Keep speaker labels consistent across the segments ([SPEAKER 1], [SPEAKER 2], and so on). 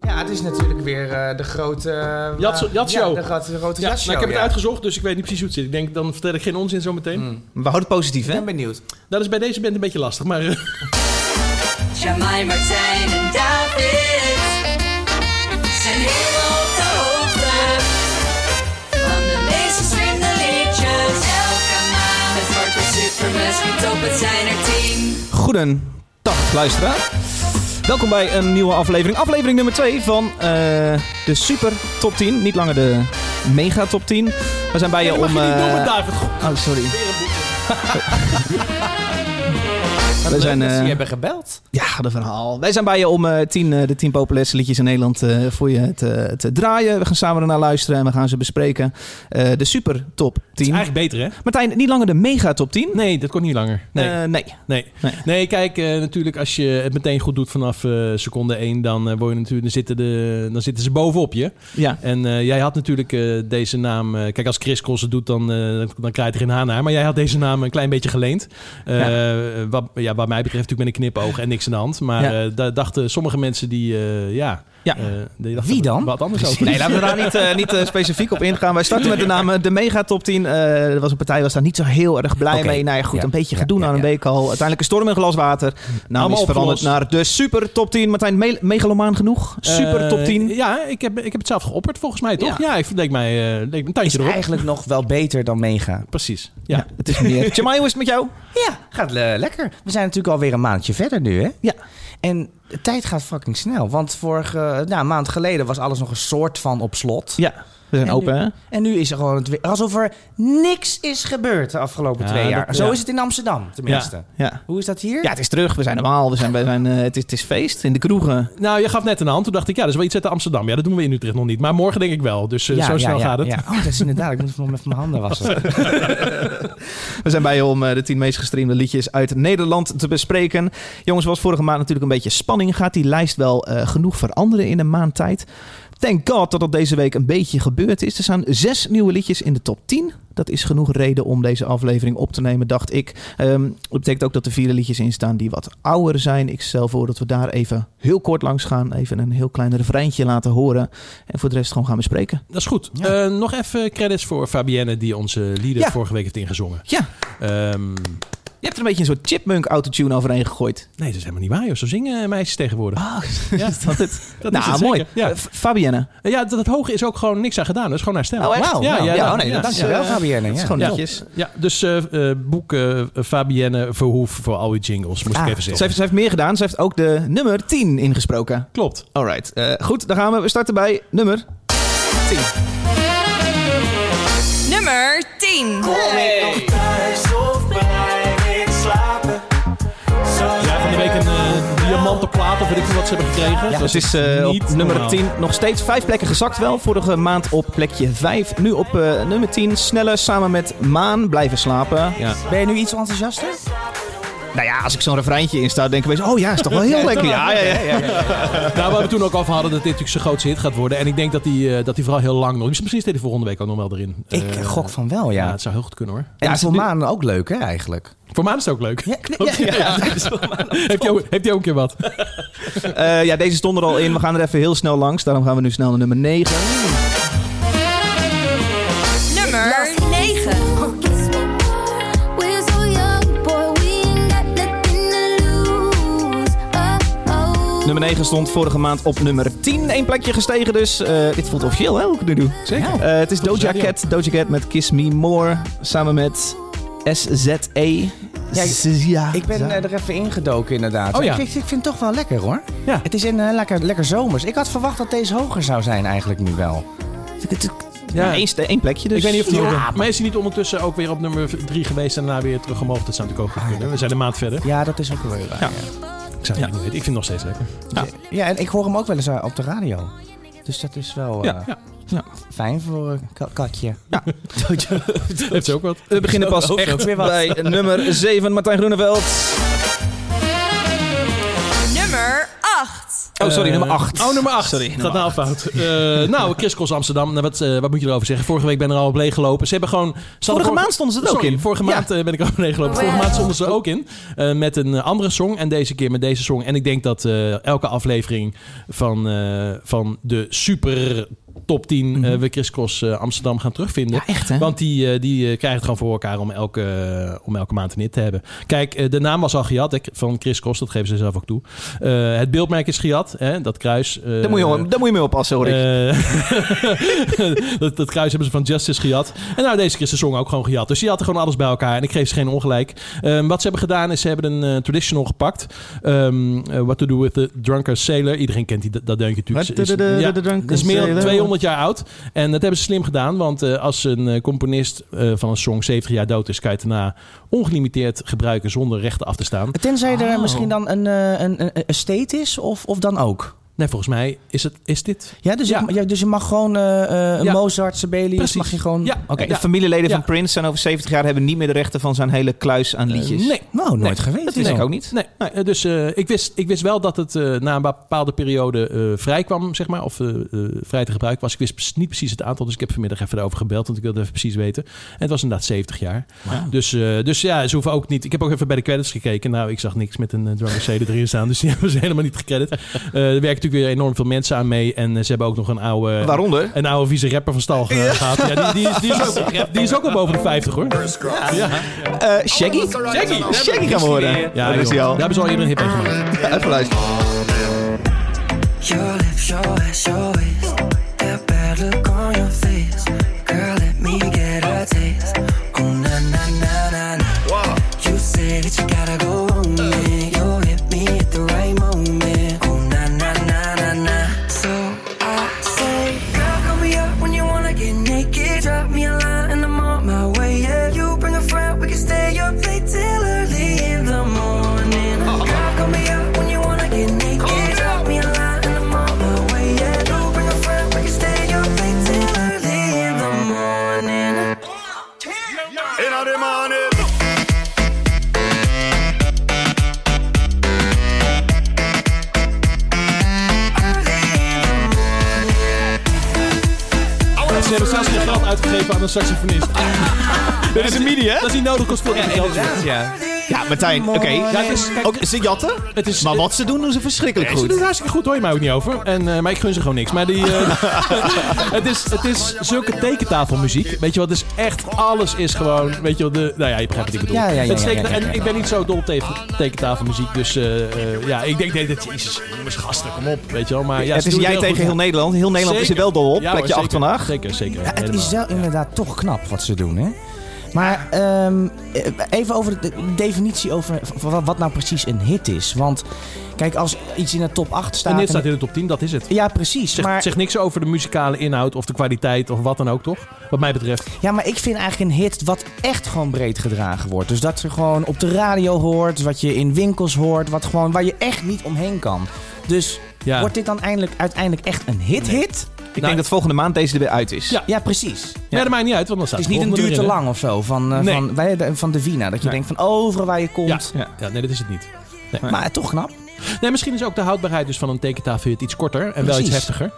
[SPEAKER 1] Ja, het is natuurlijk weer eh, de grote... eh,
[SPEAKER 2] Jatso-
[SPEAKER 1] wa-
[SPEAKER 2] Jatshow.
[SPEAKER 1] Ja, de grote, grote
[SPEAKER 2] Ja,
[SPEAKER 1] jatshow,
[SPEAKER 2] nou, ik heb het
[SPEAKER 1] ja.
[SPEAKER 2] uitgezocht, dus ik weet niet precies hoe het zit. Ik denk, dan vertel ik geen onzin zometeen.
[SPEAKER 3] We houden het positief,
[SPEAKER 1] Ik
[SPEAKER 3] hè?
[SPEAKER 1] ben benieuwd.
[SPEAKER 2] Dat is bij deze band een beetje lastig, maar... eh,
[SPEAKER 3] Ah,
[SPEAKER 4] Jamai, Martijn en David zijn heel op de hoogte van de meest gespeelde liedjes. Elke maand het wordt weer supermes, want op het zijn er tien.
[SPEAKER 3] Goedendag, luisteraar. Welkom bij een nieuwe aflevering. Aflevering nummer 2 van eh, de Super Top 10. Niet langer de Mega Top 10. We zijn bij je
[SPEAKER 2] dat
[SPEAKER 3] om...
[SPEAKER 2] mag je niet
[SPEAKER 3] eh,
[SPEAKER 2] noemen, David. Goh,
[SPEAKER 3] oh, sorry.
[SPEAKER 2] weer een boete.
[SPEAKER 3] We zijn,
[SPEAKER 1] dat ze
[SPEAKER 3] eh,
[SPEAKER 1] je hebben gebeld.
[SPEAKER 3] Ja, de verhaal. Wij zijn bij je om eh, tien, eh, de tien populairste liedjes in Nederland eh, voor je te, te draaien. We gaan samen ernaar luisteren en we gaan ze bespreken. Eh, de super top
[SPEAKER 2] Het
[SPEAKER 3] 10.
[SPEAKER 2] is eigenlijk beter, hè?
[SPEAKER 3] Martijn, niet langer de mega top 10.
[SPEAKER 2] Nee, dat kon niet langer. Nee.
[SPEAKER 3] Eh, nee.
[SPEAKER 2] Nee.
[SPEAKER 3] Nee.
[SPEAKER 2] nee. kijk, eh, natuurlijk als je het meteen goed doet vanaf eh, seconde 1, dan, eh, word je natuurlijk, dan, zitten de, dan zitten ze bovenop je.
[SPEAKER 3] Ja.
[SPEAKER 2] En eh, jij had natuurlijk eh, deze naam... eh, kijk, als Chris Cross het doet, dan, eh dan krijg je er geen haan naar. Maar jij had deze naam een klein beetje geleend. Eh, wat, ja, wat mij betreft natuurlijk met een knipoog en niks aan de hand. Maar
[SPEAKER 3] Ja.
[SPEAKER 2] eh, daar dachten sommige mensen die... eh, ja,
[SPEAKER 3] Ja.
[SPEAKER 2] eh, die dachten
[SPEAKER 3] Wie dan?
[SPEAKER 2] Wat anders over.
[SPEAKER 3] Nee, laten we daar niet, eh, niet eh, specifiek op ingaan. Wij starten met de naam eh, de Mega Top 10. Eh, er was een partij was daar niet zo heel erg blij
[SPEAKER 1] Oké.
[SPEAKER 3] mee. Nou ja, goed,
[SPEAKER 1] Ja.
[SPEAKER 3] een beetje
[SPEAKER 1] Ja,
[SPEAKER 3] gedoe
[SPEAKER 1] ja,
[SPEAKER 3] aan een
[SPEAKER 1] ja.
[SPEAKER 3] week al. Uiteindelijk een storm in een glas water. Naam
[SPEAKER 2] Allemaal
[SPEAKER 3] is veranderd
[SPEAKER 2] opgelost.
[SPEAKER 3] naar de Super Top 10. Martijn, me- megalomaan genoeg? Super
[SPEAKER 2] Eh,
[SPEAKER 3] Top 10?
[SPEAKER 2] ja, ik heb, ik heb het zelf geopperd volgens mij, toch?
[SPEAKER 3] Ja.
[SPEAKER 2] Ja, ik leek mij eh, leek me een tandje erop.
[SPEAKER 1] eigenlijk nog wel beter dan mega.
[SPEAKER 2] Precies.
[SPEAKER 3] Ja,
[SPEAKER 2] Ja.
[SPEAKER 3] het is meer. Jamai, hoe is het met jou?
[SPEAKER 1] Ja, gaat eh, lekker. We zijn natuurlijk alweer een maandje verder nu, hè?
[SPEAKER 3] Ja.
[SPEAKER 1] En de tijd gaat fucking snel. Want vorige nou, een maand geleden was alles nog een soort van op slot.
[SPEAKER 3] Ja, we zijn
[SPEAKER 1] En
[SPEAKER 3] open, hè?
[SPEAKER 1] En nu is er gewoon het weer alsof er niks is gebeurd de afgelopen
[SPEAKER 2] Ja,
[SPEAKER 1] twee jaar.
[SPEAKER 2] dat-
[SPEAKER 1] Zo
[SPEAKER 2] ja.
[SPEAKER 1] is het in Amsterdam, tenminste.
[SPEAKER 3] Ja.
[SPEAKER 1] Hoe is dat hier?
[SPEAKER 3] Ja, het is terug. We zijn normaal. We zijn, we zijn, eh, het, is, het is feest in de kroegen.
[SPEAKER 2] Nou, je gaf net een hand. Toen dacht ik, ja, dat is wel iets uit Amsterdam. Ja, dat doen we in Utrecht nog niet. Maar morgen denk ik wel. Dus eh,
[SPEAKER 1] Ja,
[SPEAKER 2] zo
[SPEAKER 1] ja,
[SPEAKER 2] snel
[SPEAKER 1] ja,
[SPEAKER 2] gaat het.
[SPEAKER 1] ja. Oh, dat is inderdaad. Ik moet even met mijn handen wassen.
[SPEAKER 3] We zijn bij je om eh, de tien meest gestreamde liedjes uit Nederland te bespreken. Jongens, was vorige maand natuurlijk een beetje spanning. Gaat die lijst wel eh, genoeg veranderen in een maand tijd? Thank God dat dat deze week een beetje gebeurd is. Er staan zes nieuwe liedjes in de top 10. Dat is genoeg reden om deze aflevering op te nemen, dacht ik. Ehm, dat betekent ook dat er vier liedjes in staan die wat ouder zijn. Ik stel voor dat we daar even heel kort langs gaan. Even een heel klein refreintje laten horen. En voor de rest gewoon gaan bespreken.
[SPEAKER 2] Dat is goed. Eh, nog even credits voor Fabienne, die onze lieder
[SPEAKER 3] Ja.
[SPEAKER 2] vorige week heeft ingezongen.
[SPEAKER 3] Ja,
[SPEAKER 2] Ehm,
[SPEAKER 3] je hebt er een beetje een soort chipmunk autotune overheen gegooid.
[SPEAKER 2] nee, dat is helemaal niet waar. Joh. Zo zingen eh, meisjes tegenwoordig.
[SPEAKER 3] Ah,
[SPEAKER 2] Ja, dat is
[SPEAKER 3] nou,
[SPEAKER 2] het
[SPEAKER 3] mooi.
[SPEAKER 2] zeker. Ja.
[SPEAKER 3] Eh, F- Fabienne.
[SPEAKER 2] Eh, ja, dat, dat hoge is ook gewoon niks aan gedaan. Dat is gewoon haar stem.
[SPEAKER 3] Oh, echt?
[SPEAKER 2] Ja,
[SPEAKER 3] Wauw.
[SPEAKER 2] ja,
[SPEAKER 3] Ja,
[SPEAKER 2] dat-
[SPEAKER 3] oh, nee,
[SPEAKER 2] ja.
[SPEAKER 3] dat is- eh,
[SPEAKER 1] Dankjewel, Fabienne.
[SPEAKER 3] Dat
[SPEAKER 1] Ja.
[SPEAKER 3] is gewoon
[SPEAKER 2] Ja.
[SPEAKER 3] Oh, netjes.
[SPEAKER 2] Ja, dus eh, eh, boek eh, Fabienne Verhoef voor al uw jingles, moest
[SPEAKER 1] Ah,
[SPEAKER 2] ik even
[SPEAKER 3] Ze
[SPEAKER 2] zeggen.
[SPEAKER 3] heeft, ze heeft meer gedaan. Ze heeft ook de nummer 10 ingesproken.
[SPEAKER 2] Klopt.
[SPEAKER 3] Alright. Eh, goed, dan gaan we. We starten bij nummer 10.
[SPEAKER 4] Nummer 10.
[SPEAKER 2] Ja, van de week een eh, diamanten plaat of weet ik veel wat ze hebben gekregen.
[SPEAKER 3] Ja,
[SPEAKER 2] Dat
[SPEAKER 3] het is eh,
[SPEAKER 2] niet
[SPEAKER 3] op nummer
[SPEAKER 2] normaal.
[SPEAKER 3] 10 nog steeds vijf plekken gezakt wel. Vorige maand op plekje 5. Nu op eh, nummer 10. Snelle samen met Maan blijven slapen.
[SPEAKER 2] Ja.
[SPEAKER 1] Ben je nu iets enthousiaster?
[SPEAKER 3] Nou ja, als ik zo'n refreintje insta, denk ik opeens... Oh ja, is toch wel heel lekker. Ja, ja, ja. ja.
[SPEAKER 2] Nou, waar we toen ook over hadden dat dit natuurlijk zijn grootste hit gaat worden. En ik denk dat die, eh, dat die vooral heel lang nog... Misschien steeds de volgende week ook nog wel erin.
[SPEAKER 1] Ik
[SPEAKER 2] Eh,
[SPEAKER 1] gok van wel,
[SPEAKER 2] Ja,
[SPEAKER 1] ja.
[SPEAKER 2] het zou heel goed kunnen hoor.
[SPEAKER 1] En
[SPEAKER 3] Ja,
[SPEAKER 1] ja,
[SPEAKER 3] het
[SPEAKER 1] voor
[SPEAKER 3] is nu-
[SPEAKER 1] Maan ook leuk, hè, eigenlijk.
[SPEAKER 2] Voor Maan is het ook leuk.
[SPEAKER 3] ja, ja, ja.
[SPEAKER 2] heeft, hij ook, heeft hij ook een keer wat?
[SPEAKER 3] Eh, ja, deze stond er al in. We gaan er even heel snel langs. Daarom gaan we nu snel naar nummer 9.
[SPEAKER 4] Nummer 9.
[SPEAKER 5] Oh, We're so young, boy, we ain't got nothing to lose. Oh, oh.
[SPEAKER 3] Nummer 9 stond vorige maand op nummer 10. Eén plekje gestegen dus. Eh, dit voelt officieel, hè, hoe ik het nu doe.
[SPEAKER 2] Zeker.
[SPEAKER 3] Eh, het is Doja Cat. Doja Cat met Kiss Me More. Samen met SZE.
[SPEAKER 1] Ja, ik-
[SPEAKER 3] Zia.
[SPEAKER 1] Ik ben eh, er even ingedoken, inderdaad.
[SPEAKER 2] Oh, ja.
[SPEAKER 1] ik, ik vind het toch wel lekker, hoor.
[SPEAKER 2] Ja.
[SPEAKER 1] Het is een eh, lekker, lekker zomers. Ik had verwacht dat deze hoger zou zijn, eigenlijk nu wel.
[SPEAKER 3] Ja, één, ste- één plekje dus.
[SPEAKER 2] Ik weet niet of die...
[SPEAKER 1] Ja,
[SPEAKER 2] ook-
[SPEAKER 1] maar-
[SPEAKER 2] maar is hij niet ondertussen ook weer op nummer 3 geweest en daarna weer terug omhoog? Dat zou natuurlijk ook
[SPEAKER 3] Ah,
[SPEAKER 2] goed kunnen. We zijn een maand verder.
[SPEAKER 1] Ja, dat is ook wel weer waar. Ja.
[SPEAKER 2] Ik zou het niet weten. Ik vind het nog steeds lekker.
[SPEAKER 1] Ja, en ik hoor hem ook wel eens eh, op de radio. Dus dat is wel eh,
[SPEAKER 2] Ja, ja.
[SPEAKER 1] fijn voor een ka- katje.
[SPEAKER 2] heeft ze ook wat.
[SPEAKER 3] We beginnen pas
[SPEAKER 1] Ook
[SPEAKER 3] echt
[SPEAKER 1] weer wat.
[SPEAKER 3] bij nummer Oh, 7. Martijn Groeneveld.
[SPEAKER 4] Nummer 8.
[SPEAKER 3] Oh,
[SPEAKER 2] Eh,
[SPEAKER 3] sorry, nummer acht.
[SPEAKER 2] Oh, nummer 8.
[SPEAKER 3] Sorry,
[SPEAKER 2] Sorry,
[SPEAKER 3] nummer
[SPEAKER 2] Gaat nou fout. Eh nou, Crisscross Amsterdam. Nou, wat, eh, wat moet je erover zeggen? Vorige week ben ik er al op leeg gelopen. Ze hebben gewoon... ze hadden
[SPEAKER 3] maand stonden ze er ook
[SPEAKER 2] Sorry,
[SPEAKER 3] in.
[SPEAKER 2] Vorige
[SPEAKER 3] Ja.
[SPEAKER 2] maand eh, ben ik er al op leeg gelopen. Vorige maand stonden ze er ook in. eh, met een eh, andere song. En deze keer met deze song. En ik denk dat eh, elke aflevering van, eh, van de super top 10...
[SPEAKER 3] Mhm.
[SPEAKER 2] eh, we Crisscross eh, Amsterdam gaan terugvinden.
[SPEAKER 3] Ja, echt, hè?
[SPEAKER 2] Want die, eh, die eh, krijgen het gewoon voor elkaar om elke, eh, om elke maand een hit te hebben. Kijk, eh, de naam was al gejat hè, van Chris Kost. Dat geven ze zelf ook toe. Eh, het beeldmerk is gejat. Hè, dat kruis. eh,
[SPEAKER 3] Daar moet, je, daar moet je mee oppassen, hoor ik.
[SPEAKER 2] eh, dat, dat kruis hebben ze van Justice gejat. En nou, deze keer is de song ook gewoon gejat. Dus die hadden gewoon alles bij elkaar. En ik geef ze geen ongelijk. Ehm, wat ze hebben gedaan is ze hebben een eh, traditional gepakt. Ehm eh, What to do with the drunken sailor. Iedereen kent die, dat dat deuntje natuurlijk.
[SPEAKER 3] What to do with the
[SPEAKER 2] Ja,
[SPEAKER 3] drunken
[SPEAKER 2] dat is meer dan
[SPEAKER 3] sailor.
[SPEAKER 2] 200 jaar oud. En dat hebben ze slim gedaan. Want eh, als een eh, componist eh, van een song 70 jaar dood is... kan je het daarna ongelimiteerd gebruiken zonder rechten af te staan.
[SPEAKER 1] Tenzij er misschien dan een, eh, een, een, een estate is, of, of dan ook.
[SPEAKER 2] Nee, volgens mij is, het, is dit...
[SPEAKER 1] Ja, dus,
[SPEAKER 2] Ja.
[SPEAKER 1] Je, ja, dus je mag gewoon eh, eh, een
[SPEAKER 2] Ja.
[SPEAKER 1] Mozart, Sibelius,
[SPEAKER 2] Precies.
[SPEAKER 1] mag je gewoon...
[SPEAKER 2] Ja.
[SPEAKER 1] Oké.
[SPEAKER 3] De familieleden
[SPEAKER 2] Ja.
[SPEAKER 3] van Prince zijn over 70 jaar hebben niet meer de rechten van zijn hele kluis aan liedjes.
[SPEAKER 2] Eh, nee.
[SPEAKER 1] Nou, nooit
[SPEAKER 2] Nee,
[SPEAKER 1] geweten.
[SPEAKER 2] dat
[SPEAKER 3] wist
[SPEAKER 1] joh.
[SPEAKER 3] ik ook niet.
[SPEAKER 2] Nee, nee, eh, dus eh, ik, wist, ik wist wel dat het eh, na een bepaalde periode eh, vrij kwam, zeg maar. Of eh, eh, vrij te gebruiken was. Ik wist pres- niet precies het aantal, dus ik heb vanmiddag even erover gebeld. Want ik wilde even precies weten. En het was inderdaad 70 jaar. Dus, eh, dus ja, ze hoeven ook niet... Ik heb ook even bij de credits gekeken. Nou, ik zag niks met een uh, Drunken Sailor erin staan. Dus die hebben ze helemaal niet gecredit. Eh, er werken natuurlijk weer enorm veel mensen aan mee. En eh, ze hebben ook nog een oude...
[SPEAKER 3] Waaronder?
[SPEAKER 2] Een oude vieze rapper van stal ge- gehad. Ja, die, die, is, die, is ook, die is ook al boven de 50, hoor.
[SPEAKER 3] Eh,
[SPEAKER 1] Oh,
[SPEAKER 3] Shaggy?
[SPEAKER 2] Shaggy!
[SPEAKER 3] Shaggy kan worden.
[SPEAKER 2] Ja,
[SPEAKER 3] dat is
[SPEAKER 2] joh,
[SPEAKER 3] hij al.
[SPEAKER 2] Daar hebben ze al eerder een hit mee gemaakt.
[SPEAKER 3] Ja, even luisteren.
[SPEAKER 6] Your lips, your eyes, your waist. That bad look on your face. Girl, let me get a taste. Oh, na, na, na, na, na. You say that you gotta go on me. You hit me at the right moment. Oh, na, na, na, na, na. So I say, girl, call me up when you wanna get naked. Drop me a line and I'm on my way. Yeah, you bring a friend, we can stay up late till early in the morning. Girl, call me up when you wanna get naked. Drop me a line and I'm on my way. Yeah, you bring a friend, we can stay up late till early in the morning.
[SPEAKER 7] In the morning.
[SPEAKER 2] Ze hebben zelfs geen geld uitgegeven aan een saxofonist.
[SPEAKER 3] Dit is een midi, hè?
[SPEAKER 2] Dat is niet nodig kost veel geld.
[SPEAKER 3] Ja, ja Martijn, oké.
[SPEAKER 2] Ja, het is, kijk,
[SPEAKER 3] Ook, ze jatten,
[SPEAKER 2] het is,
[SPEAKER 3] maar wat ze doen, doen ze verschrikkelijk
[SPEAKER 2] Ze doen
[SPEAKER 3] goed.
[SPEAKER 2] het hartstikke goed, hoor je mij ook niet over. En, eh, maar ik gun ze gewoon niks. Maar die, eh, het, is, het is zulke tekentafelmuziek. Weet je wat, het is echt, alles is gewoon, weet je wel, de, nou ja, je begrijpt wat ik bedoel.
[SPEAKER 1] Ja, ja, ja,
[SPEAKER 2] Het steekt-
[SPEAKER 1] ja, ja, ja, ja.
[SPEAKER 2] En ik ben niet zo dol op tegen tekentafelmuziek, dus eh, eh, ja, ik denk dat, jezus, jongens, gasten, kom op, weet je wel. Maar, ja,
[SPEAKER 3] het
[SPEAKER 2] ze
[SPEAKER 3] is
[SPEAKER 2] doen
[SPEAKER 3] jij
[SPEAKER 2] heel
[SPEAKER 3] tegen
[SPEAKER 2] goed.
[SPEAKER 3] heel Nederland. Heel Nederland is er
[SPEAKER 2] Zeker.
[SPEAKER 3] wel dol op.
[SPEAKER 2] Ja,
[SPEAKER 3] plekje
[SPEAKER 2] hoor,
[SPEAKER 3] 8
[SPEAKER 2] zeker.
[SPEAKER 3] vandaag.
[SPEAKER 2] Zeker, zeker.
[SPEAKER 1] Ja, het is
[SPEAKER 2] helemaal.
[SPEAKER 1] wel inderdaad toch knap wat ze doen, hè? Maar ehm, even over de definitie over wa- wat nou precies een hit is. Want kijk, als iets in de top 8 staat...
[SPEAKER 2] En dit
[SPEAKER 1] en-
[SPEAKER 2] staat in de top 10, dat is het.
[SPEAKER 1] Ja, precies.
[SPEAKER 2] Zegt,
[SPEAKER 1] maar,
[SPEAKER 2] zegt niks over de muzikale inhoud of de kwaliteit of wat dan ook, toch? Wat mij betreft.
[SPEAKER 1] Ja, maar ik vind eigenlijk een hit wat echt gewoon breed gedragen wordt. Dus dat ze gewoon op de radio hoort, wat je in winkels hoort, wat gewoon, waar je echt niet omheen kan. Dus
[SPEAKER 2] Ja.
[SPEAKER 1] wordt dit dan eindelijk, uiteindelijk echt een hit-hit?
[SPEAKER 3] Ik denk dat volgende maand deze er weer uit is.
[SPEAKER 2] Nou, Ja.
[SPEAKER 1] Ja, precies.
[SPEAKER 2] Ja, dat maakt niet uit, want dan
[SPEAKER 1] Het
[SPEAKER 2] staat
[SPEAKER 1] is niet een
[SPEAKER 2] volgende
[SPEAKER 1] duur te
[SPEAKER 2] erin, hè?
[SPEAKER 1] lang of zo van, eh,
[SPEAKER 2] Nee.
[SPEAKER 1] van, wij- de- van de Vina. Dat je
[SPEAKER 2] Nee.
[SPEAKER 1] denkt van overal waar je
[SPEAKER 2] Ja,
[SPEAKER 1] komt.
[SPEAKER 2] ja. ja, nee, dat is het niet.
[SPEAKER 1] Maar toch knap.
[SPEAKER 2] Nee, misschien is ook de houdbaarheid dus van een tekentafelhit iets korter en wel
[SPEAKER 1] Precies.
[SPEAKER 2] iets heftiger.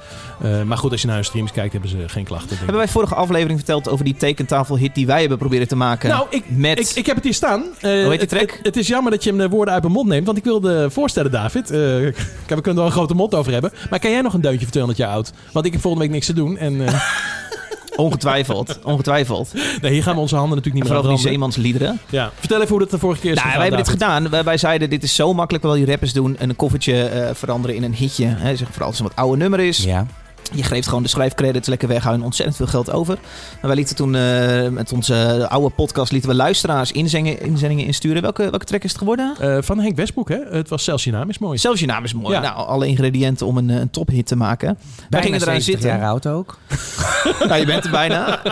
[SPEAKER 2] Eh, maar goed, als je naar hun streams kijkt, hebben ze geen klachten. Denk ik.
[SPEAKER 3] Hebben wij vorige aflevering verteld over die tekentafelhit die wij hebben proberen te maken?
[SPEAKER 2] Nou, ik,
[SPEAKER 3] met...
[SPEAKER 2] ik, ik heb het hier staan. Eh,
[SPEAKER 3] heet die
[SPEAKER 2] het-
[SPEAKER 3] track?
[SPEAKER 2] Het, het is jammer dat je hem de woorden uit mijn mond neemt, want ik wilde voorstellen, David. eh, kijk, we kunnen er wel een grote mond over hebben. Maar kan jij nog een deuntje van 200 jaar oud? Want ik heb volgende week niks te doen. En eh,
[SPEAKER 3] Ongetwijfeld, ongetwijfeld. En
[SPEAKER 2] nee, hier gaan we onze handen natuurlijk niet meer
[SPEAKER 3] vooral
[SPEAKER 2] aan
[SPEAKER 3] die
[SPEAKER 2] branden.
[SPEAKER 3] zeemansliederen.
[SPEAKER 2] ja. Vertel even hoe dat de vorige keer is
[SPEAKER 3] Nou, wij
[SPEAKER 2] gegaan,
[SPEAKER 3] hebben dit
[SPEAKER 2] David.
[SPEAKER 3] gedaan. Wij, wij zeiden, dit is zo makkelijk wat die rappers doen. Een koffertje eh, veranderen in een hitje. Hè. Zeg, vooral als het een wat oude nummer is.
[SPEAKER 1] Ja.
[SPEAKER 3] Je geeft gewoon de schrijfcredits lekker weg. Hou je ontzettend veel geld over. En wij lieten toen eh, met onze oude podcast... lieten we luisteraars inzingen, inzendingen insturen. Welke, welke track is het geworden?
[SPEAKER 2] Eh, van Henk Westbroek, hè? Het was zelfs je naam is mooi.
[SPEAKER 3] Zelfs je naam is mooi.
[SPEAKER 2] Ja.
[SPEAKER 3] Nou, alle ingrediënten om een, eh, een tophit te maken. Wij
[SPEAKER 1] Bijna
[SPEAKER 3] gingen eraan
[SPEAKER 1] 70
[SPEAKER 3] zitten.
[SPEAKER 1] jaar oud ook.
[SPEAKER 3] Nou, je bent er bijna.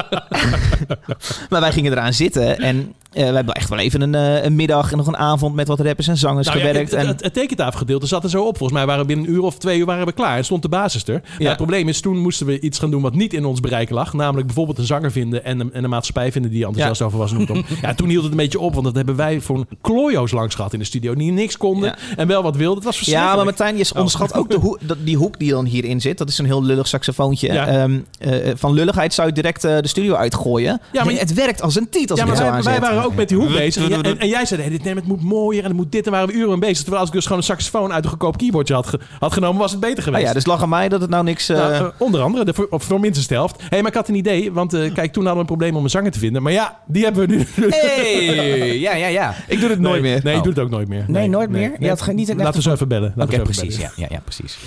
[SPEAKER 3] maar wij gingen eraan zitten. En Eh, we hebben echt wel even een, eh, een middag en nog een avond met wat rappers en zangers
[SPEAKER 2] Nou ja,
[SPEAKER 3] gewerkt.
[SPEAKER 2] het,
[SPEAKER 3] en...
[SPEAKER 2] het, het tekentafelgedeelte zat er zo op. Volgens mij waren we binnen een uur of twee uur waren we klaar. En stond de basis er. Maar
[SPEAKER 3] Ja.
[SPEAKER 2] het probleem is, toen moesten we iets gaan doen wat niet in ons bereik lag. Namelijk bijvoorbeeld een zanger vinden en een, en een maatschappij vinden die er enthousiast over was. Noem het op. ja, toen hield het een beetje op. Want dat hebben wij voor een klojo's langs gehad in de studio. Die niks konden
[SPEAKER 3] Ja.
[SPEAKER 2] en wel wat wilden. Het was
[SPEAKER 3] Ja,
[SPEAKER 2] verschrikkelijk.
[SPEAKER 3] maar Martijn, je
[SPEAKER 2] Oh.
[SPEAKER 3] onderschat ook de hoe- dat- die hoek die dan hierin zit. Dat is een heel lullig saxofoontje.
[SPEAKER 2] Ja.
[SPEAKER 3] Ehm, eh, van lulligheid zou je direct eh, de studio uitgooien.
[SPEAKER 2] Ja, maar-
[SPEAKER 3] het, het werkt als een titel. Als
[SPEAKER 2] Ja,
[SPEAKER 3] ik
[SPEAKER 2] maar
[SPEAKER 3] het zo
[SPEAKER 2] wij, wij
[SPEAKER 3] aanzet.
[SPEAKER 2] waren ook met die hoek bezig. En, jij- en- en jij zei, nee, dit, nee, het moet mooier en het moet dit. En waren we uren mee bezig. Terwijl als ik dus gewoon een saxofoon uit een goedkoop keyboardje had, ge- had genomen, was het beter
[SPEAKER 3] Ah
[SPEAKER 2] geweest.
[SPEAKER 3] ja, dus lag aan mij dat het nou niks... eh,
[SPEAKER 2] Nou, eh, onder andere, de, voor, of voor minstens de helft. Hé, maar ik had een idee, want eh, kijk, toen hadden we een probleem om een zanger te vinden. Maar ja, die hebben we nu.
[SPEAKER 3] hey! Ja, ja, ja. Ik doe het nooit
[SPEAKER 2] nee,
[SPEAKER 3] meer.
[SPEAKER 2] Nee,
[SPEAKER 3] Oh.
[SPEAKER 2] ik doe het ook nooit meer.
[SPEAKER 1] Nee, nooit meer? Je had geen- niet een
[SPEAKER 2] Laten we zo even bellen. Laten
[SPEAKER 1] Oké,
[SPEAKER 2] we zo even
[SPEAKER 1] precies.
[SPEAKER 2] bellen.
[SPEAKER 1] Ja, ja, ja, precies.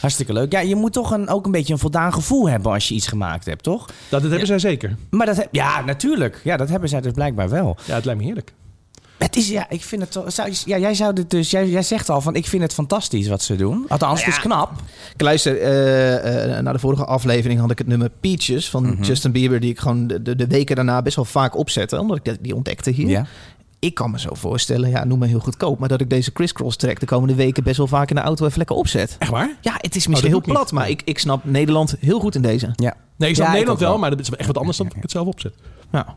[SPEAKER 1] Hartstikke leuk. Ja, je moet toch een, ook een beetje een voldaan gevoel hebben als je iets gemaakt hebt, toch?
[SPEAKER 2] Dat, dat hebben zij zeker.
[SPEAKER 1] Maar dat heb, ja, natuurlijk. Ja, dat hebben zij dus blijkbaar wel.
[SPEAKER 2] Ja, het lijkt me heerlijk.
[SPEAKER 1] Het is, ja, ik vind het toch- zou, ja, jij zou dit dus, jij, jij zegt al van, ik vind het fantastisch wat ze doen. Althans, het is knap.
[SPEAKER 3] Ik luister, eh, eh, naar de vorige aflevering had ik het nummer Peaches van Justin Bieber... die ik gewoon de, de, de weken daarna best wel vaak opzette. Omdat ik dat- die ontdekte hier.
[SPEAKER 1] Ja.
[SPEAKER 3] Ik kan me zo voorstellen, ja, noem me heel goedkoop... maar dat ik deze crisscross track de komende weken best wel vaak in de auto even lekker opzet.
[SPEAKER 2] Echt waar?
[SPEAKER 3] Ja, het is misschien
[SPEAKER 2] Oh, dat
[SPEAKER 3] heel
[SPEAKER 2] doe ik
[SPEAKER 3] plat, maar ik, ik snap Nederland heel goed in deze.
[SPEAKER 1] ja.
[SPEAKER 2] Nee, ik
[SPEAKER 1] Ja,
[SPEAKER 2] snap Nederland
[SPEAKER 1] ook
[SPEAKER 2] wel, maar dat is echt wat anders dan ik het zelf opzet.
[SPEAKER 3] Ja.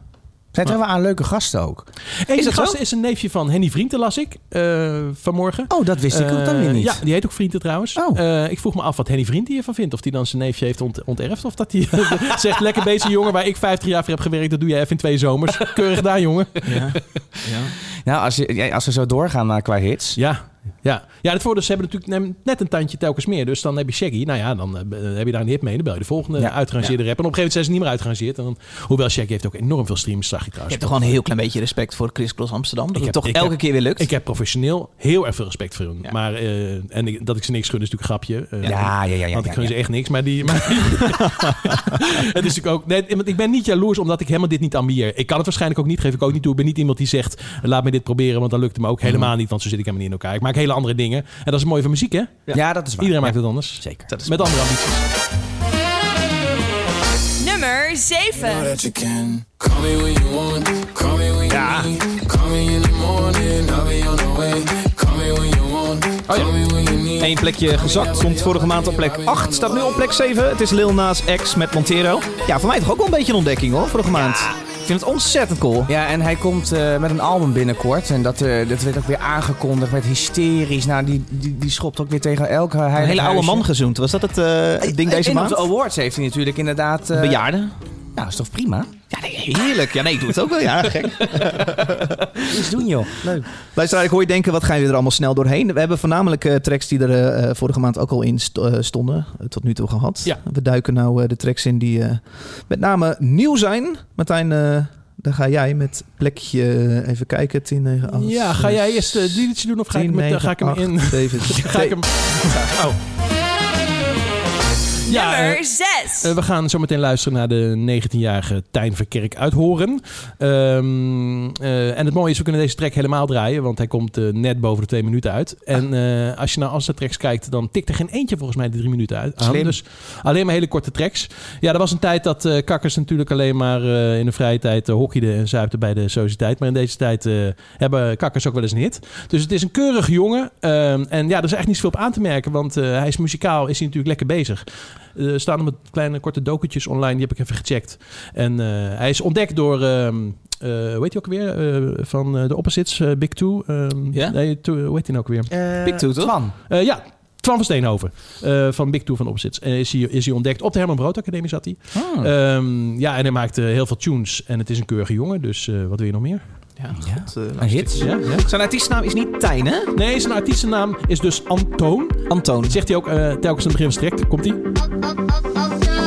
[SPEAKER 1] Zijn er wel aan leuke gasten ook?
[SPEAKER 2] Een is
[SPEAKER 3] dat
[SPEAKER 2] gast
[SPEAKER 3] zo?
[SPEAKER 2] is een neefje van Henny Vrienden, las ik eh, vanmorgen.
[SPEAKER 1] Oh, dat wist ik ook dan weer
[SPEAKER 2] Eh,
[SPEAKER 1] niet.
[SPEAKER 2] Ja, die heet ook Vrienden trouwens.
[SPEAKER 1] Oh.
[SPEAKER 2] Eh, ik vroeg me af wat Henny Vrienden hiervan vindt. Of die dan zijn neefje heeft ont- onterfd. Of dat hij zegt, lekker bezig jongen, waar ik 50 jaar voor heb gewerkt. Dat doe jij even in twee zomers. Keurig daar jongen.
[SPEAKER 1] Nou, als, je, ja, als we zo doorgaan eh, qua hits.
[SPEAKER 2] Ja, ja. ja het voordeel is, ze hebben natuurlijk nem- net een tandje telkens meer. Dus dan heb je Shaggy. Nou ja, dan eh, heb je daar een hit mee. Dan bel je de volgende
[SPEAKER 1] Ja.
[SPEAKER 2] uitgerangeerde rapper. En op een gegeven moment zijn ze niet meer uitgerangeerd. En dan, hoewel Shaggy heeft ook enorm veel streams, zag ik
[SPEAKER 3] Je
[SPEAKER 2] trouwens.
[SPEAKER 3] hebt toch gewoon een heel klein beetje respect voor Chris Cross Amsterdam. Dat het
[SPEAKER 2] heb-
[SPEAKER 3] toch
[SPEAKER 2] ik
[SPEAKER 3] elke
[SPEAKER 2] heb-
[SPEAKER 3] keer weer lukt.
[SPEAKER 2] Ik heb professioneel heel erg veel respect voor hun.
[SPEAKER 3] Ja.
[SPEAKER 2] Maar, eh, en ik- dat ik ze niks gun is natuurlijk een grapje. Eh,
[SPEAKER 1] Ja, ja, ja, ja,
[SPEAKER 2] want ik
[SPEAKER 1] ja,
[SPEAKER 2] gun
[SPEAKER 1] ja.
[SPEAKER 2] ze echt niks. Maar die... Maar het is natuurlijk ook... Nee, want ik ben niet jaloers omdat ik helemaal dit niet ambieer. Ik kan het waarschijnlijk ook niet, geef ik ook niet toe. Ik ben niet iemand die zegt, laat me dit proberen. Want dan lukt het me
[SPEAKER 1] Mhm.
[SPEAKER 2] ook helemaal niet. Want zo zit ik helemaal niet in elkaar. Ik maak hele andere dingen. En dat is mooi van muziek, hè?
[SPEAKER 1] Ja, dat is waar.
[SPEAKER 2] Iedereen
[SPEAKER 1] Ja,
[SPEAKER 2] maakt het anders.
[SPEAKER 1] Zeker.
[SPEAKER 3] Dat is
[SPEAKER 2] Met andere ambities.
[SPEAKER 4] Nummer 7.
[SPEAKER 8] that you can. Call me when you want, call me when you need. Call me in the morning, I'll be on the way. Call me when you want, call me when you need.
[SPEAKER 3] Eén plekje gezakt, stond vorige maand op plek 8, staat nu op plek 7. Het is Lil Nas X met Montero. Ja, voor mij toch ook wel een beetje een ontdekking hoor, vorige maand. Ik vind het ontzettend cool.
[SPEAKER 1] Ja, en hij komt eh, met een album binnenkort. En dat, eh, dat werd ook weer aangekondigd met hysterisch. Nou, die, die, die schopt ook weer tegen elke
[SPEAKER 3] Een hele oude man
[SPEAKER 1] gezien.
[SPEAKER 3] gezoend, was dat het eh, ding deze
[SPEAKER 1] En op de
[SPEAKER 3] maand?
[SPEAKER 1] awards heeft hij natuurlijk inderdaad... eh,
[SPEAKER 3] Bejaarden?
[SPEAKER 1] Nou, is toch prima?
[SPEAKER 3] Ja, nee, heerlijk. Ja, nee, ik doe het ook wel. Ja, gek.
[SPEAKER 1] Iets doen, joh. Leuk.
[SPEAKER 3] Luisteraar, ik hoor je denken, wat gaan we er allemaal snel doorheen? We hebben voornamelijk eh, tracks die er eh, eh, vorige maand ook al in st- eh, stonden, eh, tot nu toe gehad.
[SPEAKER 2] Ja.
[SPEAKER 3] We duiken nou eh, de tracks in die eh, met name nieuw zijn. Martijn, eh, daar ga jij met plekje, eh, even kijken, 10, 9, 8.
[SPEAKER 2] Ja, ga jij eerst eh, die liedje doen of ga, ik, met, eh, ga ik hem in... Ga ik hem... Oh. Ja, eh,
[SPEAKER 4] Nummer 6.
[SPEAKER 2] Eh, we gaan zo meteen luisteren naar de 19-jarige Tijn Verkerk uit Horen. Ehm, eh, en het mooie is, we kunnen deze track helemaal draaien, want hij komt eh, net boven de twee minuten uit. En eh, als je naar andere tracks kijkt, dan tikt er geen eentje volgens mij de drie minuten uit. aan.
[SPEAKER 1] Slim.
[SPEAKER 2] Dus alleen maar hele korte tracks. Ja, er was een tijd dat eh, kakkers natuurlijk alleen maar eh, in de vrije tijd eh, hockeyden en zuipten bij de sociëteit. Maar in deze tijd eh, hebben kakkers ook wel eens een hit. Dus het is een keurige jongen. Ehm, en ja, er is echt niet zoveel op aan te merken, want eh, hij is muzikaal, is hij natuurlijk lekker bezig. Er staan allemaal kleine korte dokentjes online. Die heb ik even gecheckt. En eh, hij is ontdekt door... weet hoe heet hij ook weer? Eh, van eh, de Opposites, eh, Big Two. ehm,
[SPEAKER 3] Ja?
[SPEAKER 2] Nee, Two- hoe heet hij nou ook weer?
[SPEAKER 1] Big Two, toch? Twan.
[SPEAKER 2] Eh, ja, Twan van Steenhoven. eh, van Big Two van de Opposites. Eh, is, hij, is hij ontdekt. Op de Herman Brood Academie zat hij.
[SPEAKER 3] Ah.
[SPEAKER 1] Hmm.
[SPEAKER 3] Eh,
[SPEAKER 2] Ehm, ja, en hij maakt eh, heel veel tunes. En het is een keurige jongen. Dus eh, wat wil je nog meer?
[SPEAKER 3] eh,
[SPEAKER 1] Een hit.
[SPEAKER 2] Ja, ja.
[SPEAKER 3] Zijn artiestnaam is niet Tijn, hè?
[SPEAKER 2] Nee, zijn artiestennaam is dus Antoon.
[SPEAKER 3] Antoon.
[SPEAKER 2] Dat zegt hij ook eh, telkens aan het begin van strekt. Komt hij?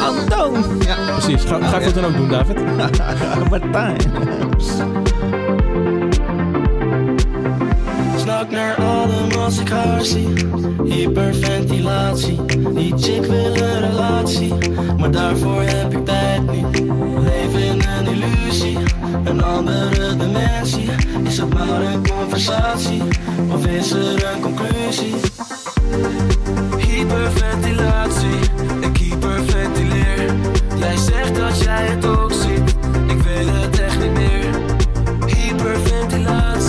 [SPEAKER 3] Antoon! Ja,
[SPEAKER 2] Precies. Ga, ga ik dat dan ook doen, David?
[SPEAKER 3] Martijn.
[SPEAKER 9] Snak naar adem als ik haar zie Hyperventilatie Die chick wil een relatie Maar daarvoor heb ik tijd niet Leef in een illusie Een andere dimensie Is het maar een conversatie Of is er een conclusie? Hyperventilatie Ik hyperventileer Jij zegt dat jij het ook ziet Ik weet het echt niet meer Hyperventilatie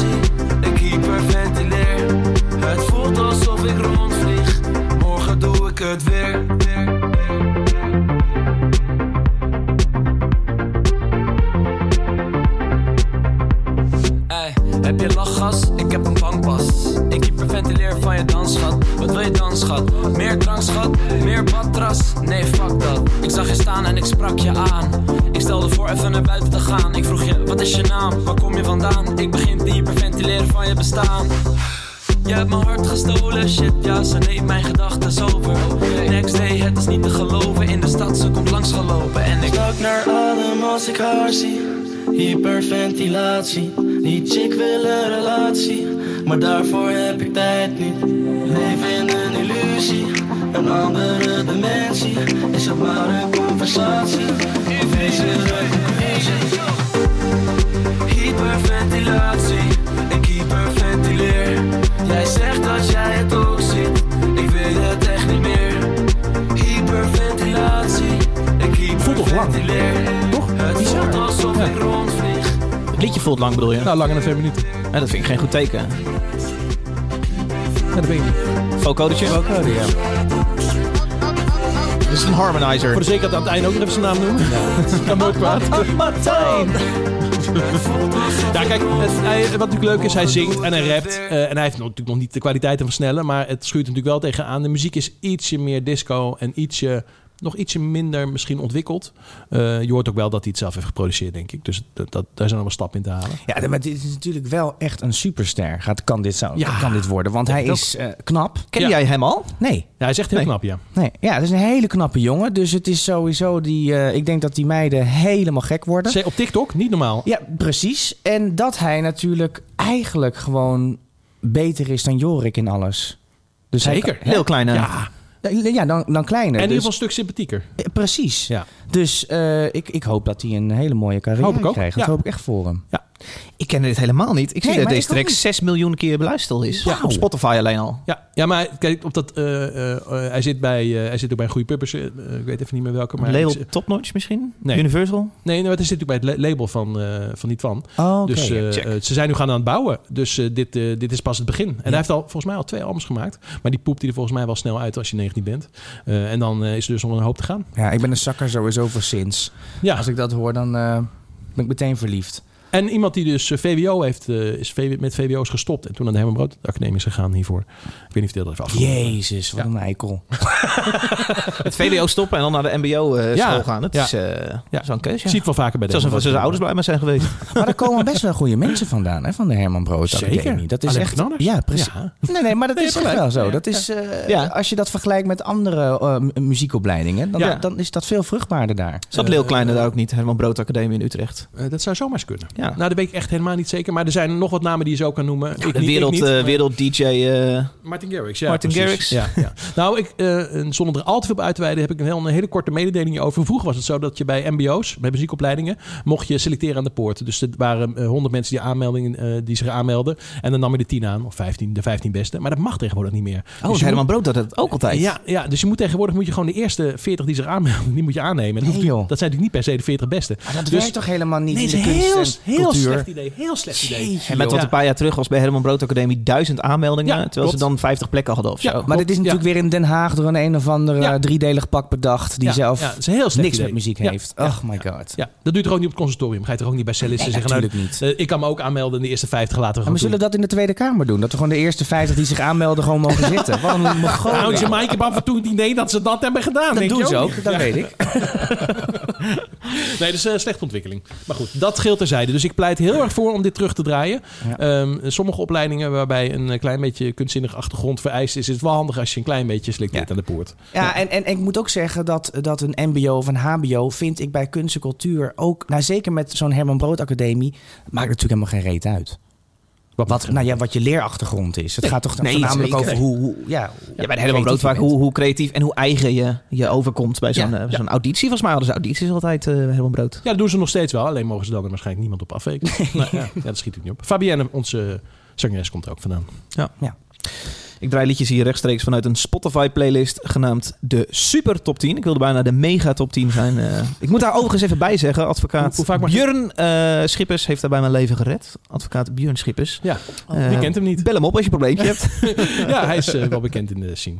[SPEAKER 9] het weer. Ey, heb je lachgas? Ik heb een bankpas. Ik hyperventileer van je dansgat. Wat wil je dan, schat? Meer drankschat? Meer badras? Nee, fuck dat. Ik zag je staan en ik sprak je aan. Ik stelde voor even naar buiten te gaan. Ik vroeg je, wat is je naam? Waar kom je vandaan? Ik begin te hyperventileren van je bestaan. Je hebt mijn hart gestolen, shit, ja, ze neemt mijn gedachten over. Next day, het is niet te geloven, in de stad, ze komt langs gelopen en ik... Stak naar adem als ik haar zie, hyperventilatie. Die chick wil een relatie, maar daarvoor heb ik tijd niet. Leef in een illusie, een andere dimensie. Is het maar een conversatie, of is het een conclusie? Hyperventilatie, ik hyperventileer. Jij zegt dat jij het ook ziet, ik weet het echt niet meer. Hyperventilatie, ik
[SPEAKER 2] Voelt toch lang?
[SPEAKER 9] hyperventileer.
[SPEAKER 2] Toch?
[SPEAKER 9] Het voelt alsof ik rondvlieg.
[SPEAKER 3] Het liedje voelt lang, bedoel je?
[SPEAKER 2] Nou, langer dan vijf minuten.
[SPEAKER 3] Ja, dat vind ik geen goed teken.
[SPEAKER 2] Ja, dat ben ik niet.
[SPEAKER 3] Vocodetje? Vocodetje, ja. Dit is een harmonizer.
[SPEAKER 2] Voor de zekerheid aan het einde ook nog even zijn naam noemen. Kan nooit kwaad.
[SPEAKER 3] Martijn!
[SPEAKER 2] Ja, kijk, het- hij- wat natuurlijk leuk is, hij zingt en hij rapt. eh, en hij heeft natuurlijk nog niet de kwaliteiten van snelle, maar het schuurt natuurlijk wel tegenaan. De muziek is ietsje meer disco en ietsje, nog ietsje minder misschien ontwikkeld. Eh, je hoort ook wel dat hij het zelf heeft geproduceerd, denk ik. Dus dat, dat, daar zijn allemaal stappen in te halen.
[SPEAKER 1] Ja, maar dit is natuurlijk wel echt een superster. Gaat, kan, dit zo,
[SPEAKER 2] Ja.
[SPEAKER 1] kan dit worden? Want hij is eh, knap.
[SPEAKER 3] Ken
[SPEAKER 2] Ja.
[SPEAKER 3] jij hem al?
[SPEAKER 1] Nee,
[SPEAKER 2] Ja, hij is echt heel
[SPEAKER 3] Nee.
[SPEAKER 2] knap, ja.
[SPEAKER 1] nee. Ja, het is een hele knappe jongen. Dus het is sowieso die... eh, ik denk dat die meiden helemaal gek worden.
[SPEAKER 2] Zij op TikTok, niet normaal.
[SPEAKER 1] Ja, precies. En dat hij natuurlijk eigenlijk gewoon beter is dan Jorik in alles. Dus hij
[SPEAKER 2] Zeker.
[SPEAKER 3] Heel klein. hè?
[SPEAKER 2] Ja,
[SPEAKER 1] kan- ja, dan, dan
[SPEAKER 2] en in
[SPEAKER 1] kleiner.
[SPEAKER 2] ieder
[SPEAKER 1] dus-
[SPEAKER 2] geval een stuk sympathieker.
[SPEAKER 1] eh, Precies.
[SPEAKER 2] Ja.
[SPEAKER 1] Dus eh, ik, ik hoop dat hij een hele mooie carrière
[SPEAKER 2] Hoop ik ook,
[SPEAKER 1] krijgt. Dat
[SPEAKER 2] ja.
[SPEAKER 1] hoop ik echt voor hem.
[SPEAKER 3] Ik ken dit helemaal niet. Ik zie
[SPEAKER 1] Nee,
[SPEAKER 3] dat
[SPEAKER 1] maar
[SPEAKER 3] deze
[SPEAKER 1] ik ook
[SPEAKER 3] track
[SPEAKER 1] niet.
[SPEAKER 3] 6 miljoen keer beluisterd is.
[SPEAKER 1] Wauw.
[SPEAKER 3] Op Spotify alleen al.
[SPEAKER 2] Ja, ja maar kijk, op dat, eh, eh, eh, hij, zit bij, eh, hij zit ook bij een goede puppers. eh, eh, ik weet even niet meer welke. Maar
[SPEAKER 3] Label
[SPEAKER 2] ik-
[SPEAKER 3] Topnotch misschien?
[SPEAKER 2] Nee.
[SPEAKER 3] Universal?
[SPEAKER 2] nee, nee, maar het zit natuurlijk bij het la- label van, eh van die Twan.
[SPEAKER 1] Oh, oké.
[SPEAKER 2] Dus eh,
[SPEAKER 3] check.
[SPEAKER 2] eh, ze zijn nu gaan aan het bouwen. Dus eh, dit, eh, dit is pas het begin. En hij heeft al volgens mij al twee albums gemaakt. Maar die poept hij er volgens mij wel snel uit als je 19 bent. Eh, en dan eh, is er dus nog een hoop te gaan.
[SPEAKER 1] Ja, ik ben een zakker sowieso voor Sins.
[SPEAKER 2] Ja,
[SPEAKER 1] Als ik dat hoor, dan eh, ben ik meteen verliefd.
[SPEAKER 2] en iemand die dus eh, VWO heeft, eh, is VW met VWO is gestopt. En toen aan de Herman Brood Academie is gegaan hiervoor. Ik weet niet of hij dat even afgemaakt heeft.
[SPEAKER 1] Jezus, wat een eikel.
[SPEAKER 3] Het VWO stoppen en dan naar de MBO eh,
[SPEAKER 2] Ja.
[SPEAKER 3] school gaan. Dat
[SPEAKER 2] Ja.
[SPEAKER 3] is eh, zo'n keuze.
[SPEAKER 2] Ik zie het wel vaker bij de
[SPEAKER 3] Zoals
[SPEAKER 2] Herman
[SPEAKER 3] zijn
[SPEAKER 2] Brood.
[SPEAKER 3] ouders bij me zijn geweest.
[SPEAKER 1] Maar daar komen best wel goede mensen vandaan, hè, van de Herman Brood
[SPEAKER 2] Zeker.
[SPEAKER 1] Academie. Dat is
[SPEAKER 2] Alleen
[SPEAKER 1] echt...
[SPEAKER 2] knallers.
[SPEAKER 1] Ja, precies.
[SPEAKER 2] Ja.
[SPEAKER 1] Nee, nee, maar dat
[SPEAKER 2] Nee,
[SPEAKER 1] is
[SPEAKER 2] je
[SPEAKER 1] echt
[SPEAKER 2] hebt
[SPEAKER 1] wel zo.
[SPEAKER 2] gelijk.
[SPEAKER 1] Dat is, eh,
[SPEAKER 3] Ja.
[SPEAKER 1] Als je dat vergelijkt met andere eh, mu- muziekopleidingen, dan,
[SPEAKER 2] Ja.
[SPEAKER 1] dan is dat veel vruchtbaarder daar.
[SPEAKER 3] Zat Leeuw Kleine daar ook niet? Herman Brood Academie in Utrecht.
[SPEAKER 2] Eh, dat zou zomaar eens kunnen.
[SPEAKER 3] Ja.
[SPEAKER 2] Nou, dat weet ik echt helemaal niet zeker. Maar er zijn nog wat namen die je zo kan noemen. ik niet,
[SPEAKER 3] De
[SPEAKER 2] ik
[SPEAKER 3] wereld,
[SPEAKER 2] niet.
[SPEAKER 3] eh, wereld DJ. eh,
[SPEAKER 2] Martin Garrix, ja.
[SPEAKER 3] Martin
[SPEAKER 2] precies.
[SPEAKER 3] Garrix.
[SPEAKER 2] Ja, ja. Nou, ik, eh, en zonder er al te veel op uit te wijden, heb ik een, heel, een hele korte mededeling over. Vroeger was het zo dat je bij MBO's, bij muziekopleidingen, mocht je selecteren aan de poort. Dus er waren eh, 100 mensen die, aanmeldingen, eh, die zich aanmelden. En dan nam je de 10 aan, of 15, de 15 beste. Maar dat mag tegenwoordig niet meer.
[SPEAKER 3] oh,
[SPEAKER 2] Dus je
[SPEAKER 3] Herman Brood had het ook altijd.
[SPEAKER 2] ja, ja, dus je moet tegenwoordig moet je gewoon de eerste 40 die zich aanmelden, die moet je aannemen. En Dat,
[SPEAKER 1] Nee,
[SPEAKER 2] hoeft niet-
[SPEAKER 1] joh.
[SPEAKER 2] dat zijn natuurlijk niet per se de 40 beste.
[SPEAKER 3] Ah,
[SPEAKER 1] Maar dat
[SPEAKER 2] Dus-
[SPEAKER 1] werkt toch helemaal niet
[SPEAKER 2] Nee,
[SPEAKER 1] in
[SPEAKER 2] dat
[SPEAKER 1] de
[SPEAKER 2] is een
[SPEAKER 1] kunst
[SPEAKER 2] heel,
[SPEAKER 1] en
[SPEAKER 2] heel
[SPEAKER 1] cultuur?
[SPEAKER 2] slecht idee. Heel slecht idee.
[SPEAKER 1] Jeetje,
[SPEAKER 3] En met wat
[SPEAKER 2] Ja.
[SPEAKER 3] een paar jaar terug was bij Herman Brood Academie duizend aanmeldingen.
[SPEAKER 2] Ja,
[SPEAKER 3] terwijl ze
[SPEAKER 2] klopt.
[SPEAKER 3] dan 50 plekken hadden of zo.
[SPEAKER 2] Ja,
[SPEAKER 1] Maar dit is
[SPEAKER 2] Oh, Ja.
[SPEAKER 1] natuurlijk weer in Den Haag door een een of andere
[SPEAKER 2] Ja.
[SPEAKER 1] driedelig pak bedacht... die
[SPEAKER 2] Ja,
[SPEAKER 1] zelf
[SPEAKER 2] ja, het is een heel slecht
[SPEAKER 1] niks
[SPEAKER 2] idee.
[SPEAKER 1] met muziek
[SPEAKER 2] Ja,
[SPEAKER 1] heeft.
[SPEAKER 2] ja,
[SPEAKER 1] Ach my god.
[SPEAKER 2] Ja, dat doet er ook niet op het consultorium. Ga je er ook niet bij cellisten
[SPEAKER 1] Nee,
[SPEAKER 2] zeggen...
[SPEAKER 1] natuurlijk niet.
[SPEAKER 2] eh, ik kan me ook aanmelden in de eerste 50 laten we
[SPEAKER 1] En
[SPEAKER 2] gewoon
[SPEAKER 1] we zullen dat in de Tweede Kamer doen. Dat we gewoon de eerste 50 die zich aanmelden gewoon mogen zitten. Wat een
[SPEAKER 2] doen. Nou, Houd je
[SPEAKER 1] mogolen.
[SPEAKER 2] mic op af en toe het idee dat ze dat hebben gedaan.
[SPEAKER 1] Dat
[SPEAKER 2] denk je
[SPEAKER 1] doen ze
[SPEAKER 2] niet?
[SPEAKER 1] ook, dat weet ik.
[SPEAKER 2] Nee, dat is eh, slechte ontwikkeling. Maar goed, dat scheelt terzijde. Dus ik pleit heel erg voor om dit terug te draaien.
[SPEAKER 1] Ja.
[SPEAKER 2] Ehm, sommige opleidingen waarbij een eh, klein beetje kunstzinnige achtergrond vereist is... is het wel handig als je een klein beetje selecteert
[SPEAKER 1] Ja.
[SPEAKER 2] aan de poort.
[SPEAKER 1] Ja, en, en, en ik moet ook zeggen dat, dat een mbo of een hbo vind ik bij kunst en cultuur ook... Nou, zeker met zo'n Herman Brood Academie, maakt natuurlijk helemaal geen reet uit. Wat, nou ja, wat je leerachtergrond is. Het gaat toch
[SPEAKER 3] nee,
[SPEAKER 1] voornamelijk
[SPEAKER 3] zeker.
[SPEAKER 1] over hoe... hoe ja,
[SPEAKER 3] Ja, bij de Herman Brood vaak
[SPEAKER 1] creatief je
[SPEAKER 3] hoe, hoe creatief en hoe eigen je, je overkomt bij zo'n
[SPEAKER 2] Ja,
[SPEAKER 3] eh,
[SPEAKER 2] ja.
[SPEAKER 3] zo'n auditie. Volgens mij hadden ze audities altijd, eh Herman Brood.
[SPEAKER 2] Ja, dat doen ze nog steeds wel. Alleen mogen ze dan er waarschijnlijk niemand op afweken. Nou, ja, ja, dat schiet ik niet op. Fabienne, onze zangeres, komt er ook vandaan.
[SPEAKER 3] Ik draai liedjes hier rechtstreeks vanuit een Spotify-playlist genaamd de Super Top 10. Ik wilde bijna de Mega Top 10 zijn. eh. ik moet daar overigens even bij zeggen, advocaat
[SPEAKER 2] Hoe- hoe vaak mag je-
[SPEAKER 3] Björn eh, Schippers heeft daarbij mijn leven gered. Advocaat Björn Schippers.
[SPEAKER 2] Ja,
[SPEAKER 3] Eh,
[SPEAKER 2] die Oh, kent hem niet.
[SPEAKER 3] Bel hem op als je een probleempje hebt.
[SPEAKER 2] Ja, hij is eh, wel bekend in de scene.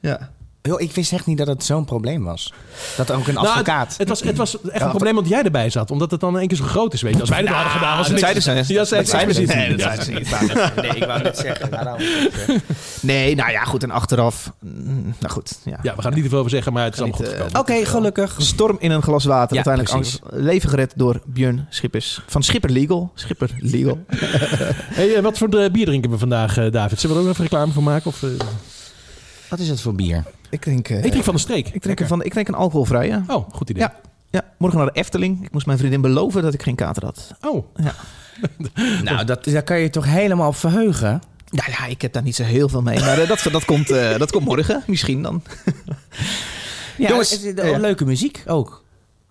[SPEAKER 3] Ja.
[SPEAKER 1] Joh, ik wist echt niet dat het zo'n probleem was. Dat ook een
[SPEAKER 2] Nou,
[SPEAKER 1] advocaat.
[SPEAKER 2] het, het was, het was echt een probleem dat jij erbij zat. Omdat het dan in één keer zo groot is. Weet je. Als wij dat hadden gedaan, was het
[SPEAKER 3] dat
[SPEAKER 2] niks.
[SPEAKER 3] zeiden ze.
[SPEAKER 2] Ja, ze
[SPEAKER 3] Dat zeiden ze.
[SPEAKER 2] expliciet.
[SPEAKER 3] Nee, dat
[SPEAKER 2] Ja.
[SPEAKER 3] zeiden ze.
[SPEAKER 1] Ik wou net- nee, ik wou net zeggen. nou, daarom zeg ik, eh.
[SPEAKER 3] Nee, nou ja, goed. En achteraf... mm, Nou goed, ja.
[SPEAKER 2] Ja, we gaan er niet te veel over zeggen, maar het is allemaal goed
[SPEAKER 3] Niet, eh,
[SPEAKER 2] gekomen.
[SPEAKER 1] Oké, gelukkig.
[SPEAKER 3] Storm in een glas water.
[SPEAKER 1] Ja,
[SPEAKER 3] Uiteindelijk
[SPEAKER 1] precies.
[SPEAKER 3] angst- leven gered door Björn Schippers. Van Schipper Legal. Schipper Legal.
[SPEAKER 2] Hey, eh, wat voor eh, bier drinken we vandaag, eh, David? Zullen we er ook even reclame voor maken? Of, eh,
[SPEAKER 1] Wat is dat voor bier?
[SPEAKER 3] ik drink... eh,
[SPEAKER 2] Ik drink van de streek.
[SPEAKER 3] ik drink, ervan, ik drink een alcoholvrije.
[SPEAKER 2] Oh, goed idee.
[SPEAKER 3] Ja. Ja, morgen naar de Efteling. Ik moest mijn vriendin beloven dat ik geen kater had.
[SPEAKER 2] Oh,
[SPEAKER 1] Nou, dat, daar kan je toch helemaal op verheugen?
[SPEAKER 3] Nou ja, ik heb daar niet zo heel veel mee. Maar eh, dat, dat, komt, eh, dat komt morgen. Misschien dan.
[SPEAKER 1] Ja,
[SPEAKER 3] Jongens,
[SPEAKER 1] het is-
[SPEAKER 3] eh, ja.
[SPEAKER 1] leuke muziek ook.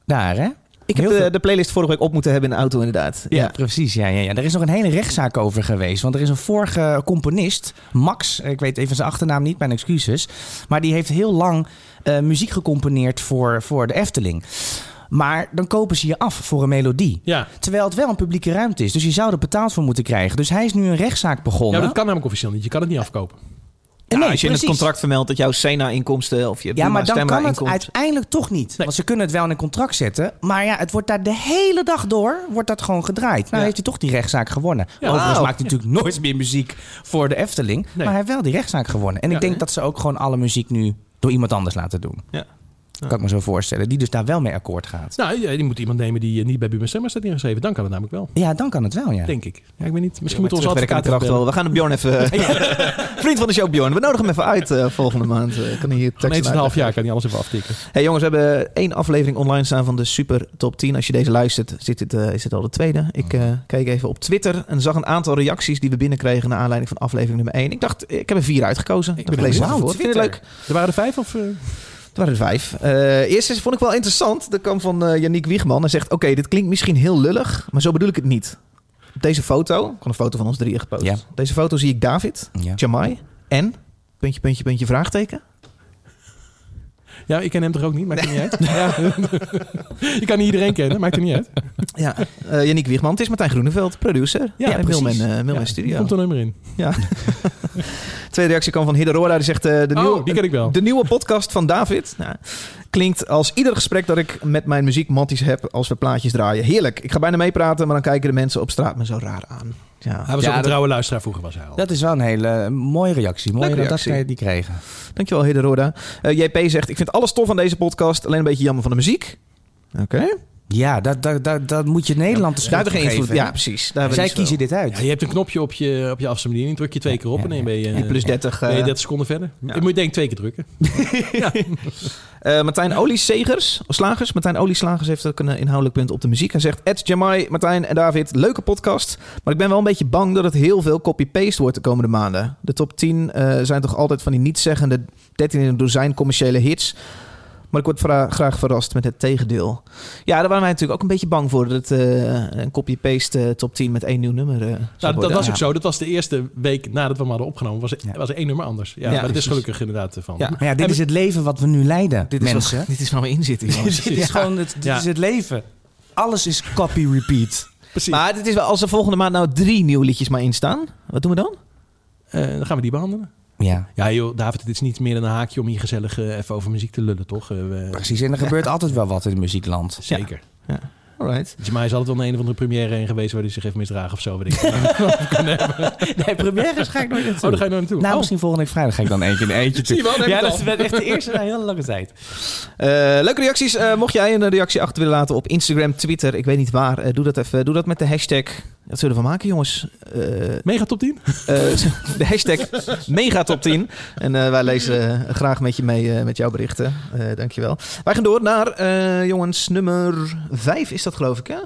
[SPEAKER 1] Daar, hè?
[SPEAKER 3] Ik heb eh,
[SPEAKER 1] Heel
[SPEAKER 3] de,
[SPEAKER 1] veel-
[SPEAKER 3] de playlist vorige week op moeten hebben in de auto inderdaad.
[SPEAKER 1] Ja, precies. Ja, ja, ja. Er is nog een hele rechtszaak over geweest. Want er is een vorige componist, Max, ik weet even zijn achternaam niet, mijn excuses. Maar die heeft heel lang eh, muziek gecomponeerd voor, voor de Efteling. Maar dan kopen ze je af voor een melodie.
[SPEAKER 2] ja.
[SPEAKER 1] Terwijl het wel een publieke ruimte is. Dus je zou er betaald voor moeten krijgen. Dus hij is nu een rechtszaak begonnen.
[SPEAKER 2] ja, dat kan namelijk officieel niet. Je kan het niet afkopen.
[SPEAKER 1] Eh,
[SPEAKER 3] Nou, als je in
[SPEAKER 1] precies.
[SPEAKER 3] het contract vermeldt dat jouw Sena-inkomsten of je
[SPEAKER 1] Ja, maar dan kan het
[SPEAKER 3] inkomsten
[SPEAKER 1] uiteindelijk toch niet. Want ze kunnen het wel in een contract zetten. Maar ja, het wordt daar de hele dag door wordt dat gewoon gedraaid. Nou
[SPEAKER 2] Ja.
[SPEAKER 1] heeft hij toch die rechtszaak gewonnen.
[SPEAKER 2] Ja.
[SPEAKER 1] Overigens
[SPEAKER 2] Wauw.
[SPEAKER 1] maakt hij natuurlijk nooit meer muziek voor de Efteling. Maar hij heeft wel die rechtszaak gewonnen. En
[SPEAKER 2] Ja.
[SPEAKER 1] ik denk dat ze ook gewoon alle muziek nu door iemand anders laten doen.
[SPEAKER 3] Ja.
[SPEAKER 1] Kan ik me zo voorstellen. Die dus daar wel mee akkoord gaat.
[SPEAKER 2] Nou, ja, die moet iemand nemen die eh, niet bij Buma Stemmer staat ingeschreven. Dan kan het namelijk wel.
[SPEAKER 1] Ja, dan kan het wel, ja.
[SPEAKER 2] Denk ik. Ja, ik weet niet. Misschien
[SPEAKER 3] Met
[SPEAKER 2] moeten we onze
[SPEAKER 3] terugwerkende
[SPEAKER 2] advocaat
[SPEAKER 3] kracht wel. We gaan de Bjorn even... eh, Vriend van de show Bjorn. We nodigen hem even uit eh, volgende maand. Eh, kan hij hier tekst
[SPEAKER 2] Van eens een half jaar kan hij alles even aftikken.
[SPEAKER 3] Hey jongens, we hebben één aflevering online staan van de Super Top 10. Als je deze luistert, zit dit, eh, is dit al de tweede. Ik
[SPEAKER 2] Mhm.
[SPEAKER 3] eh, keek even op Twitter en zag een aantal reacties die we binnenkregen... naar aanleiding van aflevering nummer 1. Ik dacht, ik heb er vier uitgekozen. Ik
[SPEAKER 2] ben
[SPEAKER 3] lees
[SPEAKER 2] benieuwd.
[SPEAKER 3] het voor. Vind je het leuk?
[SPEAKER 2] Er waren er vijf of... eh,
[SPEAKER 3] Het waren er vijf. Eh eerst is, vond ik wel interessant. Dat kwam van eh Yannick Wiegman. Hij zegt, oké, dit klinkt misschien heel lullig, maar zo bedoel ik het niet. Op deze foto, ik had een foto van ons drieën gepost.
[SPEAKER 1] Ja.
[SPEAKER 3] Op Deze foto zie ik David,
[SPEAKER 1] Ja.
[SPEAKER 3] Jamai en... Puntje, puntje, puntje, vraagteken.
[SPEAKER 2] Ja, ik ken hem toch ook niet? Maakt het niet uit. je kan niet iedereen kennen. Maakt het niet uit.
[SPEAKER 3] Ja, eh Yannick Wiegman. Het is Martijn Groeneveld, producer.
[SPEAKER 2] Ja,
[SPEAKER 3] Ja,
[SPEAKER 2] precies.
[SPEAKER 3] Milman, eh, Milman
[SPEAKER 2] Ja,
[SPEAKER 3] Studio.
[SPEAKER 2] Komt er nummer in.
[SPEAKER 3] Ja. Tweede reactie kwam van Hidderora. Die zegt, eh, de,
[SPEAKER 2] Oh,
[SPEAKER 3] nieuwe,
[SPEAKER 2] die ken ik wel.
[SPEAKER 3] de nieuwe podcast van David nou, klinkt als ieder gesprek dat ik met mijn muziekmatties heb als we plaatjes draaien. Heerlijk. Ik ga bijna meepraten, maar dan kijken de mensen op straat me zo raar aan. Ja,
[SPEAKER 2] Hij was ook
[SPEAKER 1] Ja,
[SPEAKER 2] een
[SPEAKER 1] dat-
[SPEAKER 2] trouwe luisteraar vroeger was hij al.
[SPEAKER 1] Dat is wel een hele eh, mooie reactie. Mooi
[SPEAKER 3] Leuke
[SPEAKER 1] dat, dat
[SPEAKER 3] reactie.
[SPEAKER 1] zij die kregen.
[SPEAKER 3] dankjewel Hidderora. Eh JP zegt, ik vind alles tof aan deze podcast, alleen een beetje jammer van de muziek. Oké.
[SPEAKER 1] Ja, dat, dat, dat, dat moet je Nederland de
[SPEAKER 3] Daar
[SPEAKER 1] schuld
[SPEAKER 3] hebben we geen invloed.
[SPEAKER 1] geven.
[SPEAKER 3] Ja, precies. Daar hebben we
[SPEAKER 1] Zij
[SPEAKER 3] niet
[SPEAKER 1] kiezen
[SPEAKER 3] zoveel.
[SPEAKER 1] dit uit.
[SPEAKER 2] Ja, je hebt een knopje op je, op je afstandsbediening. Druk je twee keer op
[SPEAKER 1] ja,
[SPEAKER 2] en dan ben je...
[SPEAKER 3] En plus
[SPEAKER 2] eh,
[SPEAKER 3] 30. eh,
[SPEAKER 2] ben je 30 seconden verder.
[SPEAKER 3] Ja.
[SPEAKER 2] Je moet denk ik twee keer drukken.
[SPEAKER 3] Eh, Martijn Oliesegers, Slagers. Martijn Olieslagers heeft ook een eh, inhoudelijk punt op de muziek. Hij zegt, Ed, Jamai, Martijn en David, leuke podcast. Maar ik ben wel een beetje bang dat het heel veel copy-paste wordt de komende maanden. De top 10 eh, zijn toch altijd van die nietszeggende 13 in een dozijn commerciële hits. Maar ik word vra- graag verrast met het tegendeel. Ja, daar waren wij natuurlijk ook een beetje bang voor. Dat eh, een copy-paste eh, top 10 met één nieuw nummer eh, zou
[SPEAKER 2] Nou, dat
[SPEAKER 3] worden.
[SPEAKER 2] was ook zo. Dat was de eerste week nadat we hem hadden opgenomen. Was,
[SPEAKER 1] Ja.
[SPEAKER 2] was er één nummer anders. Ja,
[SPEAKER 3] Ja,
[SPEAKER 2] maar dat is
[SPEAKER 3] precies.
[SPEAKER 2] gelukkig inderdaad eh, van.
[SPEAKER 3] Ja.
[SPEAKER 1] Maar ja, dit
[SPEAKER 2] En-
[SPEAKER 1] is het leven wat we nu leiden,
[SPEAKER 3] Dit is,
[SPEAKER 1] mensen.
[SPEAKER 3] waar, dit is waar we in zitten, jongens.
[SPEAKER 1] dit is gewoon het, dit
[SPEAKER 2] Ja.
[SPEAKER 1] is het leven. Alles is copy repeat.
[SPEAKER 2] Precies.
[SPEAKER 3] Maar het is wel, als er volgende maand nou drie nieuwe liedjes maar in staan. Wat doen we dan?
[SPEAKER 2] Eh, dan gaan we die behandelen.
[SPEAKER 1] Ja,
[SPEAKER 2] Ja joh, David, het is niet meer dan een haakje om hier gezellig eh, even over muziek te lullen, toch? Eh, we-
[SPEAKER 1] precies. En er gebeurt altijd wel wat in het muziekland.
[SPEAKER 2] Zeker.
[SPEAKER 3] Alright.
[SPEAKER 2] Dus mij is altijd wel naar een of andere première heen geweest waar hij zich heeft misdragen of zo. Weet ik. veel.
[SPEAKER 1] Nee, premières ga ik nooit
[SPEAKER 2] oh, daar ga je nou naartoe.
[SPEAKER 1] Nou,
[SPEAKER 2] Oh,
[SPEAKER 1] misschien volgende week vrijdag ga ik dan eentje in eentje toe.
[SPEAKER 2] wel, daar heb
[SPEAKER 1] ja,
[SPEAKER 3] dus
[SPEAKER 2] je het
[SPEAKER 1] dat
[SPEAKER 2] al.
[SPEAKER 1] is echt de eerste na heel lange tijd.
[SPEAKER 3] Eh, leuke reacties. Eh, mocht jij een reactie achter willen laten op Instagram, Twitter, ik weet niet waar. eh, doe dat even. Doe dat met de hashtag. Dat zullen we van maken, jongens. Eh, eh,
[SPEAKER 2] mega top 10?
[SPEAKER 3] de hashtag megatop 10. En eh, wij lezen eh, graag met je mee eh, met jouw berichten. Eh dankjewel. Wij gaan door naar, eh, jongens, nummer 5 is dat geloof ik, hè?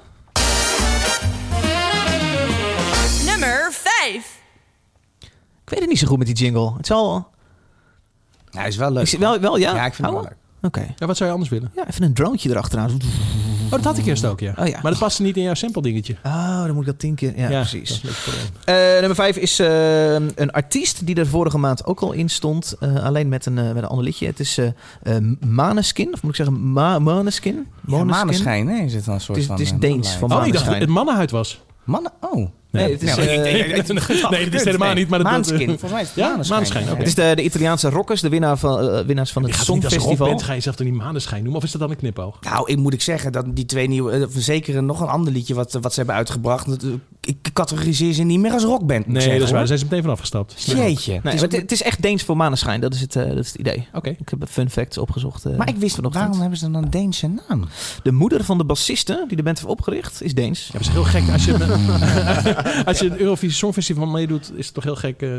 [SPEAKER 4] Nummer 5.
[SPEAKER 3] Ik weet het niet zo goed met die jingle. Het zal...
[SPEAKER 1] Ja, is wel leuk.
[SPEAKER 3] Ik, zie- wel, wel, ja?
[SPEAKER 1] ja, ik vind het wel
[SPEAKER 3] Houden?
[SPEAKER 1] leuk.
[SPEAKER 3] Oké.
[SPEAKER 2] Ja, wat zou je anders willen?
[SPEAKER 3] Ja, even een droontje erachteraan.
[SPEAKER 2] Oh, dat had ik eerst ook, ja.
[SPEAKER 3] Oh, ja.
[SPEAKER 2] Maar dat paste niet in jouw sample dingetje.
[SPEAKER 3] Oh, dan moet ik dat tien keer... Ja, precies.
[SPEAKER 2] dat is leuk voor hem. Oh,
[SPEAKER 3] Eh, nummer vijf is eh, een artiest die er vorige maand ook al in stond. eh, alleen met een, eh, met een ander liedje. Het is eh eh, Maneskin. Of moet ik zeggen Ma Maneskin?
[SPEAKER 1] Ja, maneschijn, hè, is het dan een
[SPEAKER 3] Het
[SPEAKER 1] soort
[SPEAKER 3] is-
[SPEAKER 1] van...
[SPEAKER 3] het is
[SPEAKER 1] eh,
[SPEAKER 3] Deens
[SPEAKER 1] mannenlijn.
[SPEAKER 3] van
[SPEAKER 2] Oh, ik dacht
[SPEAKER 3] Maneschijn.
[SPEAKER 2] dat het mannenhuid was.
[SPEAKER 1] Mannen, oh.
[SPEAKER 3] Nee, het is,
[SPEAKER 1] Nou,
[SPEAKER 3] eh,
[SPEAKER 1] ik- ik- ik-
[SPEAKER 2] Nee, dat is helemaal niet, maar dat-
[SPEAKER 1] Maneskin, volgens mij is het
[SPEAKER 2] Ja,
[SPEAKER 1] Maneskin.
[SPEAKER 2] Maneskin, oké.
[SPEAKER 3] het is de, de Italiaanse rockers, de winnaar van, eh, winnaars van het
[SPEAKER 2] Gaat niet als je rock
[SPEAKER 3] Songfestival.
[SPEAKER 2] bent, ga je zelf toch niet maneschijn noemen? Of is dat dan een knipoog?
[SPEAKER 1] Nou, ik moet ik zeggen dat die twee nieuwe, eh, zeker nog een ander liedje wat, eh, wat ze hebben uitgebracht. dat, eh, Ik categoriseer ze niet meer als rockband. moet ik
[SPEAKER 2] Nee,
[SPEAKER 1] zeggen,
[SPEAKER 2] dat is waar. Daar
[SPEAKER 1] hoor.
[SPEAKER 2] zijn ze meteen van afgestapt.
[SPEAKER 1] Jeetje.
[SPEAKER 3] Nee,
[SPEAKER 1] Het
[SPEAKER 3] maar
[SPEAKER 1] is-
[SPEAKER 3] het, het is echt Deens voor maneschijn. Dat is het, eh, dat is het idee.
[SPEAKER 2] Oké.
[SPEAKER 3] Ik heb fun facts opgezocht. eh,
[SPEAKER 1] maar ik wist nog
[SPEAKER 3] vanochtend.
[SPEAKER 1] waarom hebben ze dan een Deense naam?
[SPEAKER 3] De moeder van de bassiste die de band heeft opgericht is Deens.
[SPEAKER 2] Ja, maar het is heel gek. Als je, als je een Eurovisie Songfestival meedoet, is het toch heel gek. eh,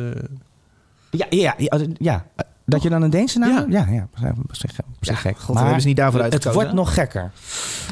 [SPEAKER 1] Ja, ja, ja, ja. dat je dan een Deense naam
[SPEAKER 2] Ja.
[SPEAKER 1] hebt? Ja, ja, ja, op zich, eh, op zich gek.
[SPEAKER 3] dat hebben ze niet daarvoor
[SPEAKER 1] het
[SPEAKER 3] uitgekozen,
[SPEAKER 1] wordt
[SPEAKER 3] hè?
[SPEAKER 1] nog Oh. gekker.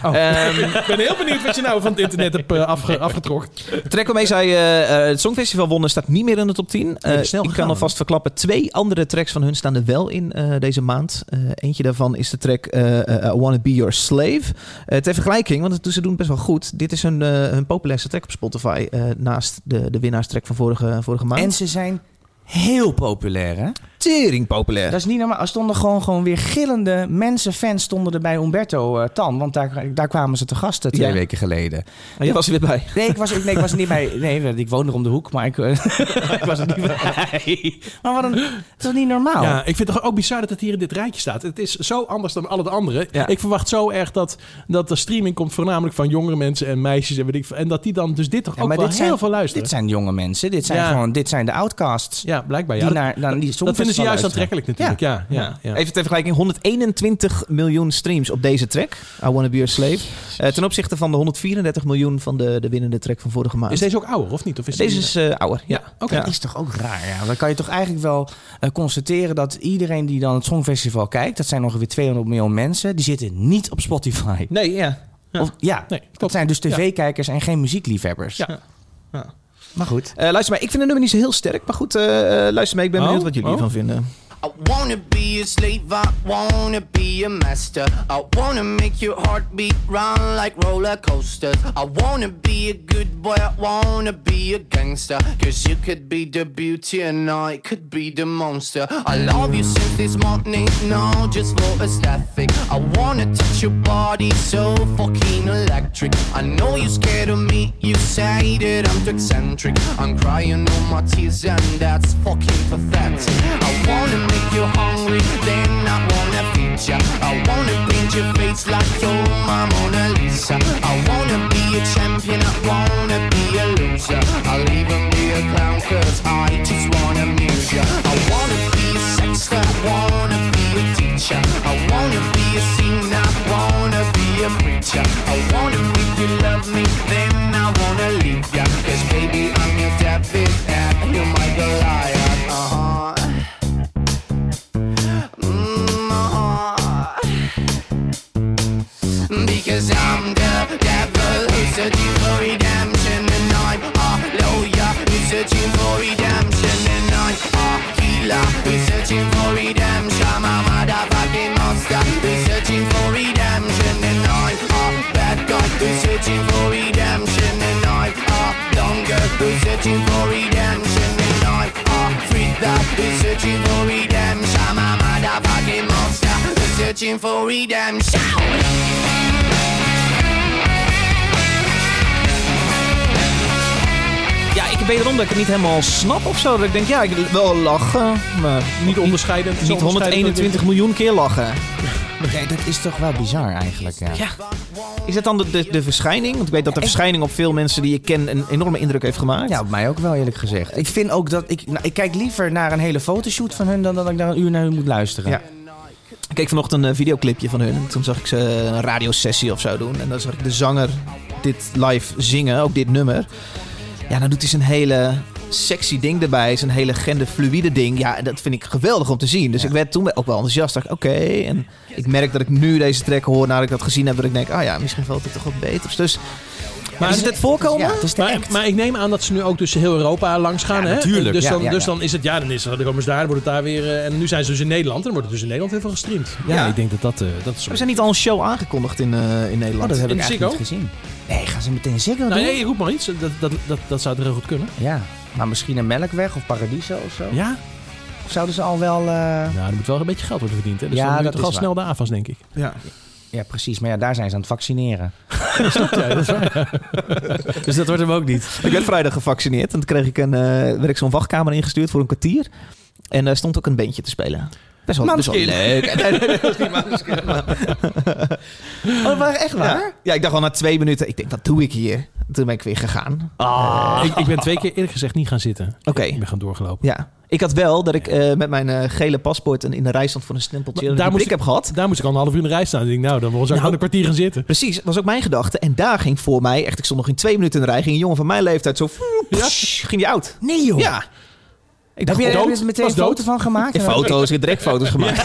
[SPEAKER 3] Ehm,
[SPEAKER 2] Ik ben heel benieuwd wat je nou van het internet hebt eh, afge- afgetrokken.
[SPEAKER 3] Trek waarmee zij eh, eh, het Songfestival wonnen staat niet meer in de top 10. Eh,
[SPEAKER 2] dat is snel
[SPEAKER 3] ik
[SPEAKER 2] gegaan,
[SPEAKER 3] kan alvast verklappen, twee andere tracks van hun staan er wel in eh, deze maand. Eh, eentje daarvan is de track eh, eh, I Wanna Be Your Slave. Eh, ter vergelijking, want het, ze doen het best wel goed. Dit is hun, eh, hun populairste track op Spotify. eh, naast de, de winnaarstrack van vorige, vorige maand.
[SPEAKER 1] En ze zijn heel populair, hè?
[SPEAKER 3] tering populair.
[SPEAKER 1] Dat is niet normaal. Er stonden gewoon, gewoon weer gillende mensen, fans stonden er bij Umberto eh, Tan. Want daar, daar kwamen ze te gasten twee
[SPEAKER 3] Ja.
[SPEAKER 1] weken geleden.
[SPEAKER 3] Maar Jij was er weer bij.
[SPEAKER 1] Nee, ik was, ik, nee, ik was er niet bij. Nee, ik woon er om de hoek, maar ik, eh, ik was er niet bij. Maar wat een. Het is toch niet normaal?
[SPEAKER 2] Ja, ik vind het ook bizar dat het hier in dit rijtje staat. Het is zo anders dan alle de andere.
[SPEAKER 3] Ja.
[SPEAKER 2] Ik verwacht zo erg dat, dat de streaming komt voornamelijk van jongere mensen en meisjes en weet ik veel. En dat die dan dus dit toch
[SPEAKER 1] Ja,
[SPEAKER 2] ook wel heel
[SPEAKER 1] dit zijn,
[SPEAKER 2] veel luisteren.
[SPEAKER 1] Dit zijn jonge mensen. Dit zijn
[SPEAKER 2] Ja.
[SPEAKER 1] gewoon. Dit zijn de outcasts.
[SPEAKER 2] ja, blijkbaar. Ja.
[SPEAKER 1] die
[SPEAKER 2] dat,
[SPEAKER 1] naar, naar die
[SPEAKER 2] dat vinden ze juist
[SPEAKER 1] luisteren.
[SPEAKER 2] aantrekkelijk natuurlijk. Ja, ja, ja,
[SPEAKER 3] Even ter vergelijking, 121 miljoen streams op deze track. I Wanna Be Your Slave. Eh, ten opzichte van de 134 miljoen van de, de winnende track van vorige maand.
[SPEAKER 2] Is deze ook ouder of niet? Of is
[SPEAKER 3] Deze
[SPEAKER 2] die-
[SPEAKER 3] is eh, ouder, ja.
[SPEAKER 2] Ja, oké.
[SPEAKER 3] Ja.
[SPEAKER 1] Dat is toch ook raar? Ja? Dan kan je toch eigenlijk wel eh, constateren dat iedereen die dan het Songfestival kijkt, dat zijn ongeveer 200 miljoen mensen, die zitten niet op Spotify.
[SPEAKER 3] Nee, ja. Ja.
[SPEAKER 1] Of, ja,
[SPEAKER 2] Nee,
[SPEAKER 1] dat
[SPEAKER 2] klopt.
[SPEAKER 1] zijn dus tv-kijkers en geen muziekliefhebbers.
[SPEAKER 2] Ja. Ja.
[SPEAKER 1] Maar goed.
[SPEAKER 3] Eh, luister maar, ik vind de nummer niet zo heel sterk. Maar goed, eh, eh, luister mee. Ik ben
[SPEAKER 2] Oh,
[SPEAKER 3] benieuwd wat jullie
[SPEAKER 2] oh.
[SPEAKER 3] ervan vinden.
[SPEAKER 10] I wanna be a slave, I wanna be a master. I wanna make your heartbeat run like roller coasters. I wanna be a good boy, I wanna be a gangster. Cause you could be the beauty and I could be the monster. I love you since this morning, no, just for aesthetic. I wanna touch your body so fucking electric. I know you're scared of me, you say that I'm too eccentric. I'm crying all my tears and that's fucking pathetic. I wanna make you hungry, then I wanna feed ya. I wanna paint your face like your my Mona Lisa. I wanna be a champion, I wanna be a loser. I'll even be a clown cause I just wanna amuse ya. I wanna be a sexter, I wanna be a teacher. I wanna be a singer, I wanna be a preacher. I wanna make you love me, then I wanna leave ya. Cause baby, I'm your David, and you're my Goliath. Uh-huh. Mm, uh-huh. Because I'm the devil who's searching for redemption And I'm a lawyer who's searching for redemption And I'm a healer who's searching for redemption I'm a motherfucking monster who's searching for redemption And I'm a bad guy who's searching for redemption And I'm a longer who's searching for redemption And I'm a freedom who's searching for redemption I'm a motherfucking monster who's searching for redemption
[SPEAKER 3] Ja, ik weet erom dat ik het niet helemaal snap of zo. Dat ik denk, ja, ik wil wel lachen. Maar
[SPEAKER 2] Niet onderscheidend.
[SPEAKER 3] niet 121 miljoen keer lachen.
[SPEAKER 1] Nee, dat is toch wel bizar eigenlijk. Ja.
[SPEAKER 3] Is dat dan de, de, de verschijning? Want ik weet dat de verschijning op veel mensen die ik ken een enorme indruk heeft gemaakt.
[SPEAKER 1] Ja,
[SPEAKER 3] Ja,
[SPEAKER 1] op mij ook wel eerlijk gezegd. Ik vind ook dat ik. Nou, ik kijk liever naar een hele fotoshoot van hun dan dat ik daar een uur naar hun moet luisteren.
[SPEAKER 3] Ja. ik keek vanochtend een eh, videoclipje van hun. En toen zag ik ze een radiosessie of zo doen. En dan zag ik de zanger dit live zingen, ook dit nummer. Ja, dan doet hij zijn hele sexy ding erbij. Zijn hele genderfluïde ding. Ja, dat vind ik geweldig om te zien. Dus ik werd toen ook wel enthousiast. Dacht, ik, oké. En ik merk dat ik nu deze track hoor nadat ik dat gezien heb. Dat ik denk, ah ja, misschien valt het toch wat beter. Dus, maar is het het voorkomen?
[SPEAKER 1] Ja, het is de
[SPEAKER 2] Maar,
[SPEAKER 1] act.
[SPEAKER 2] maar ik neem aan dat ze nu ook dus heel Europa langs gaan.
[SPEAKER 1] Ja,
[SPEAKER 2] hè?
[SPEAKER 1] natuurlijk.
[SPEAKER 2] Dus,
[SPEAKER 1] Ja,
[SPEAKER 2] dan,
[SPEAKER 1] ja,
[SPEAKER 2] dus
[SPEAKER 1] ja.
[SPEAKER 2] dan is het, ja, dan is het, dan komen ze daar, dan wordt het daar weer. eh, en nu zijn ze dus in Nederland en dan wordt het dus in Nederland heel veel gestreamd. Ja,
[SPEAKER 3] Ja.
[SPEAKER 2] ik denk dat dat, eh, dat is.
[SPEAKER 3] We zijn niet al een show aangekondigd in, eh, in Nederland.
[SPEAKER 1] Oh, dat heb ik
[SPEAKER 2] In
[SPEAKER 1] eigenlijk niet gezien. Nee, gaan ze meteen Ziggo
[SPEAKER 2] Nou,
[SPEAKER 1] doen?
[SPEAKER 2] nee, roep maar iets. Dat, dat, dat, dat zou er heel goed kunnen.
[SPEAKER 1] Ja, maar misschien een Melkweg of Paradiso of zo.
[SPEAKER 2] Ja?
[SPEAKER 1] Of zouden ze al wel... eh,
[SPEAKER 2] Nou, er moet wel een beetje geld worden verdiend. Hè? Dus
[SPEAKER 1] Ja,
[SPEAKER 2] dan moet je
[SPEAKER 1] dat
[SPEAKER 2] toch
[SPEAKER 1] is
[SPEAKER 2] al
[SPEAKER 1] waar.
[SPEAKER 2] snel de AFAS, denk ik.
[SPEAKER 3] Ja.
[SPEAKER 1] Ja, precies. Maar ja, daar zijn ze aan het vaccineren.
[SPEAKER 3] Dus dat wordt hem ook niet. Ik werd vrijdag gevaccineerd en toen kreeg ik een, eh, werd ik zo'n wachtkamer ingestuurd voor een kwartier. En daar stond ook een beentje te spelen. Best wel, best wel
[SPEAKER 1] Maneskin.
[SPEAKER 3] leuk. Nee, nee, nee, dat was niet Maneskin, maar-
[SPEAKER 1] Oh, dat waren echt waar?
[SPEAKER 3] Ja. ja, ik dacht al na twee minuten, ik denk, wat doe ik hier? Toen ben ik weer gegaan.
[SPEAKER 2] Eh, ik, ik ben twee keer eerlijk gezegd niet gaan zitten.
[SPEAKER 3] Ah, Oké.
[SPEAKER 2] Ik ben gaan doorgelopen.
[SPEAKER 3] Ja. Ik had wel dat ik eh, met mijn eh, gele paspoort en in de rij stond voor een stempeltje.
[SPEAKER 2] daar
[SPEAKER 3] Daar
[SPEAKER 2] moest
[SPEAKER 3] moest ik heb gehad.
[SPEAKER 2] Daar moest ik al een half uur in de rij staan. Ik denk, nou, dan was ik gewoon een kwartier gaan zitten.
[SPEAKER 3] Precies, dat was ook mijn gedachte. En daar ging voor mij, echt, ik stond nog in twee minuten in de rij, ging een jongen van mijn leeftijd zo, psh, ging die oud.
[SPEAKER 1] Nee, joh.
[SPEAKER 3] Ja. Ik
[SPEAKER 1] Heb
[SPEAKER 3] dacht, "Oh,
[SPEAKER 1] je
[SPEAKER 3] dood?
[SPEAKER 1] er dus meteen een
[SPEAKER 3] Was dood?
[SPEAKER 1] foto van gemaakt?
[SPEAKER 3] Ja, foto's, ik heb direct foto's gemaakt.